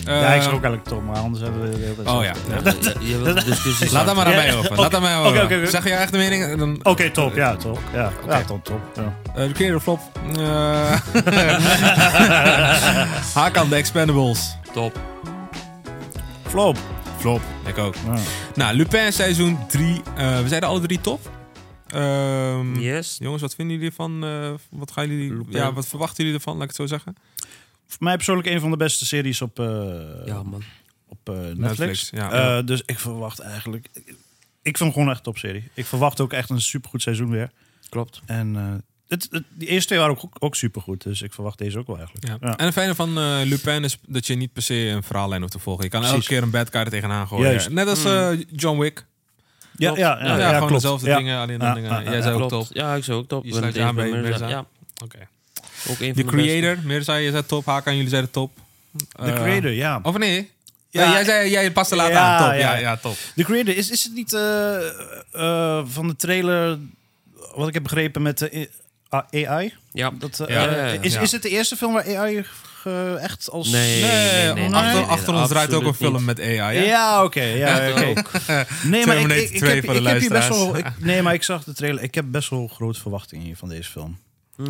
S3: ja, ik
S1: Eh,
S3: zeg ook eigenlijk top, maar anders hebben we de hele tijd
S1: Oh
S3: zo.
S1: ja.
S2: Ja, je, je wilt de discussie
S1: Laat dat maar aan
S3: Ja,
S1: mij
S3: ja.
S1: over.
S3: Oké,
S1: Laat dat mij over.
S3: oké, oké, Oh. oké.
S1: Zeg je echte mening? Dan,
S3: Oké, top. Ja, top. Ja, ja top, top. Ja.
S1: Eh, de creator flop. Eh Hakan, de Expendables.
S2: Top.
S3: Flop.
S1: Flop. Ik ook.
S3: Ja.
S1: Nou, Lupin seizoen 3. Eh, we zeiden alle drie top. Ehm,
S2: Yes.
S1: Jongens, wat vinden jullie ervan? Eh, wat, gaan jullie,
S2: Lupin.
S1: ja, wat verwachten jullie ervan, laat ik het zo zeggen?
S3: Voor mij persoonlijk een van de beste series op, eh,
S2: Ja, man.
S3: op eh, Netflix.
S1: Netflix, ja.
S3: Eh, dus ik verwacht eigenlijk... Ik vind hem gewoon echt een topserie. Ik verwacht ook echt een supergoed seizoen weer.
S2: Klopt.
S3: En eh, het, het- die eerste twee waren ook, ook supergoed. Dus ik verwacht deze ook wel eigenlijk.
S1: Ja.
S3: Ja.
S1: En het fijne van eh, Lupin is dat je niet per se een verhaallijn hoeft te volgen. Je kan elke
S3: Precies.
S1: keer een bad guy er tegenaan gooien.
S3: Juist.
S1: Net als
S2: Mm.
S1: eh, John Wick.
S3: Ja,
S2: Klopt.
S3: ja, ja,
S1: Ja,
S3: ja,
S1: gewoon
S3: klopt.
S1: dezelfde
S3: Ja.
S1: dingen, alleen dan
S3: Ja,
S1: dingen.
S3: ja, ja,
S1: Jij zei ook
S2: Klopt.
S1: top.
S2: Ja, ik zou ook top.
S1: Je
S2: Ben
S1: sluit
S2: het
S1: je
S2: eens
S1: aan
S2: met
S1: bij
S2: Mirza.
S1: Mirza.
S2: Ja,
S1: Oké.
S2: ook een van
S1: De
S2: de
S1: creator, Mirza, jij zei top. Hakan, jullie zeiden top.
S3: De
S1: Eh,
S3: creator, ja.
S1: Of nee?
S3: Ja.
S1: Nee, jij, zei, jij past er later
S3: Ja,
S1: aan. Top. Ja, ja,
S3: ja.
S1: top.
S3: De creator, is, is het niet eh, eh, van de trailer, wat ik heb begrepen met de i- ah, AI?
S2: Ja,
S3: Dat, eh,
S1: Ja, ja,
S2: ja, ja.
S3: Is,
S1: Ja.
S3: is het de eerste film waar AI ge- echt als...
S1: Nee,
S2: Nee, nee, nee,
S1: achter,
S2: nee, nee,
S1: achter ons draait ook een
S2: absoluut
S1: film
S2: niet.
S1: met AI.
S3: Ja,
S1: Hè?
S3: oké. ja, oké.
S2: Ook.
S3: Nee, maar ik,
S1: Terminator
S3: ik, ik
S1: 2
S3: heb,
S1: voor de
S3: ik heb hier best
S1: luisteraars.
S3: wel... ik- nee, maar ik zag de trailer. Ik heb best wel grote verwachtingen hier van deze film.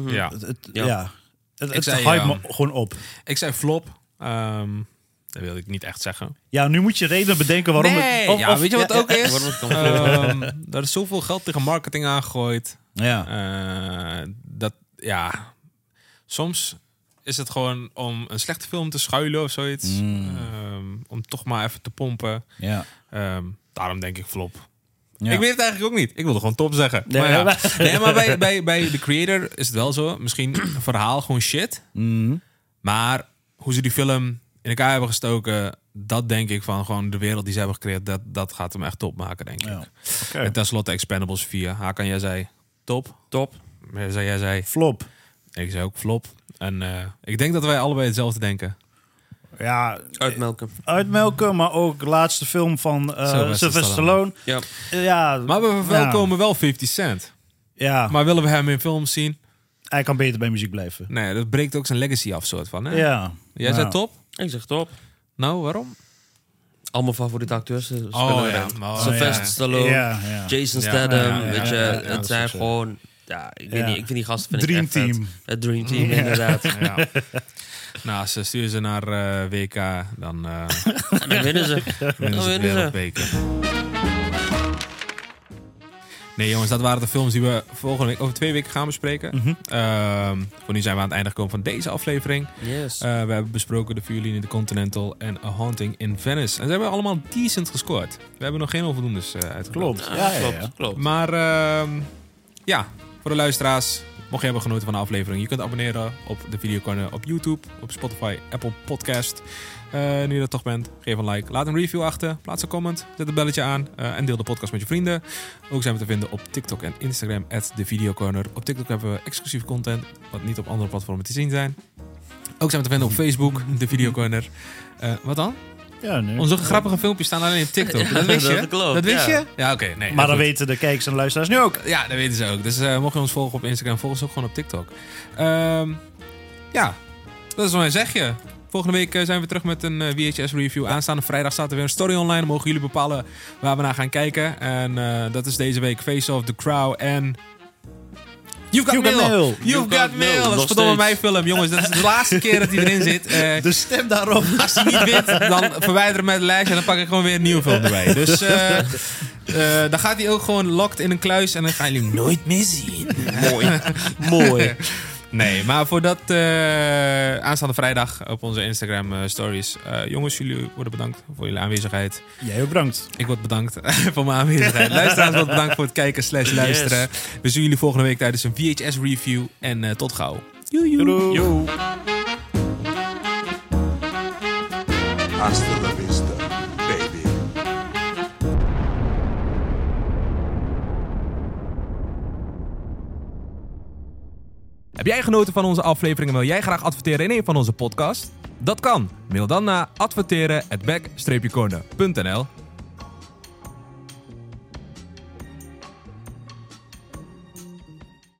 S1: Ja.
S3: Het, het-
S2: Hm. Ja.
S3: ja. Het, het
S1: zei,
S3: hype
S1: ja.
S3: me gewoon op.
S1: Ik zei flop. Ehm, dat wilde ik niet echt zeggen.
S3: Ja, nu moet je reden bedenken waarom
S1: nee,
S3: het... of-
S1: ja,
S3: of-
S1: weet je wat ook
S2: ja,
S1: is?
S2: waarom het kan
S1: Ehm, daar is zoveel geld tegen marketing aangegooid.
S3: Ja.
S1: Eh, dat, ja. Soms is het gewoon om een slechte film te schuilen of zoiets.
S2: Mm.
S1: Ehm, om toch maar even te pompen.
S3: ja.
S1: Ehm, daarom denk ik flop.
S3: Ja.
S1: Ik weet het eigenlijk ook niet. Ik wilde gewoon top zeggen.
S3: Nee,
S1: maar ja.
S3: maar-
S1: nee, maar bij, bij, bij de creator is het wel zo. Misschien een verhaal gewoon shit.
S3: Mhm.
S1: Maar hoe ze die film in elkaar hebben gestoken... dat denk ik van gewoon de wereld die ze hebben gecreëerd... dat, dat gaat hem echt top maken, denk ik.
S3: Ja. Oké.
S1: En tenslotte Expendables 4. Hakan, jij zei top.
S2: Top.
S1: Jij zei, jij zei
S3: Flop.
S1: ik zei ook flop. En eh, ik denk dat wij allebei hetzelfde denken.
S3: Ja,
S2: Uitmelken.
S3: uitmelken, maar ook laatste film van eh,
S1: Sylvester
S3: Sylvester
S1: Stallone.
S3: Stallone.
S2: Ja.
S3: Eh, Ja,
S1: Maar we verwelkomen wel 50 Cent.
S3: Ja,
S1: Maar willen we hem in films zien?
S3: hij kan beter bij muziek blijven.
S1: Nee, dat breekt ook zijn legacy af, soort van. Hè?
S3: Ja.
S1: Jij zei
S3: Ja.
S1: top?
S2: Ik zeg top.
S1: Nou, waarom?
S2: Al mijn favoriete acteurs eh, spelen
S1: Oh,
S2: erin.
S1: ja. Oh,
S2: Sylvester
S1: ja.
S2: Stallone,
S3: Ja, ja.
S2: Jason
S1: Ja.
S2: Statham.
S1: Ja, ja,
S2: weet je,
S1: ja, ja, ja, dat
S2: het
S1: is
S2: zijn
S1: ook zo.
S2: gewoon... Ja, ik, weet
S3: Ja.
S2: Niet, ik vind die gasten vind
S3: Dream
S2: ik echt vet.
S3: team.
S2: Het Dream Team, inderdaad.
S1: Ja. nou, ze sturen ze naar eh, WK, dan eh
S2: En dan winnen ze.
S1: winnen ze het
S2: winnen ze.
S1: wereldbeker. Nee jongens, dat waren de films die we volgende week, over twee weken gaan bespreken.
S3: Mhm.
S1: Ehm, voor nu zijn we aan het einde gekomen van deze aflevering.
S2: Yes.
S1: Eh, we hebben besproken de Violin in the Continental en A Haunting in Venice. En ze hebben allemaal decent gescoord. We hebben nog geen onvoldoendes eh uitgebracht.
S3: Klopt.
S2: Ah,
S3: Ja, ja,
S2: klopt,
S3: ja.
S2: klopt.
S1: Maar ehm, ja, voor de luisteraars, mocht je hebben genoten van de aflevering, je kunt abonneren op de Videocorner op YouTube, op Spotify, Apple Podcast. Eh, nu je dat toch bent, geef een like, laat een review achter, plaats een comment, zet een belletje aan eh, en deel de podcast met je vrienden. Ook zijn we te vinden op TikTok en Instagram, at de Videocorner. Op TikTok hebben we exclusief content, wat niet op andere platformen te zien zijn. Ook zijn we te vinden op Facebook, de Videocorner. Eh wat dan?
S3: Ja, nee.
S1: Onze grappige filmpjes staan alleen op TikTok. Dat wist je?
S2: dat klopt,
S1: wist
S2: ja.
S1: je? Ja, oké. nee,
S3: Maar
S1: goed.
S3: dan weten de kijkers en de luisteraars nu ook.
S1: Ja, dat weten ze ook. Dus eh mocht je ons volgen op Instagram, volg ons ook gewoon op TikTok. Ehm, ja, dat is wat wij zeggen. Volgende week eh, zijn we terug met een VHS-review. Aanstaande vrijdag staat er weer een story online. Dan mogen jullie bepalen waar we naar gaan kijken. En eh, dat is deze week Face Off, The Crow en... You've got,
S3: You've got
S1: mail.
S3: mail.
S1: You've,
S2: You've
S1: got,
S2: got
S1: mail.
S2: mail.
S1: Dat is
S2: Nog
S1: verdomme mijn
S2: steeds.
S1: film, jongens. Dat is de laatste keer dat hij erin zit. Eh,
S3: De stem daarop.
S1: als hij niet wint, dan verwijder hem uit het lijstje en dan pak ik gewoon weer een nieuwe film erbij. Dus eh, eh, dan gaat hij ook gewoon locked in een kluis en dan gaan jullie hem nooit meer zien. Mooi.
S2: Mooi.
S1: Nee, maar voor dat eh, aanstaande vrijdag op onze Instagram eh, stories. Eh, jongens, jullie worden bedankt voor jullie aanwezigheid.
S3: Jij ook bedankt.
S1: Ik word bedankt voor mijn aanwezigheid. Luisteraars, wordt bedankt voor het kijken slash luisteren. We zien jullie volgende week tijdens een VHS-review. En eh, tot gauw.
S3: Doei.
S6: Hasta la vista, baby.
S1: Heb jij genoten van onze aflevering en wil jij graag adverteren in een van onze podcasts? Dat kan. Mail dan naar adverteren at back-corner.nl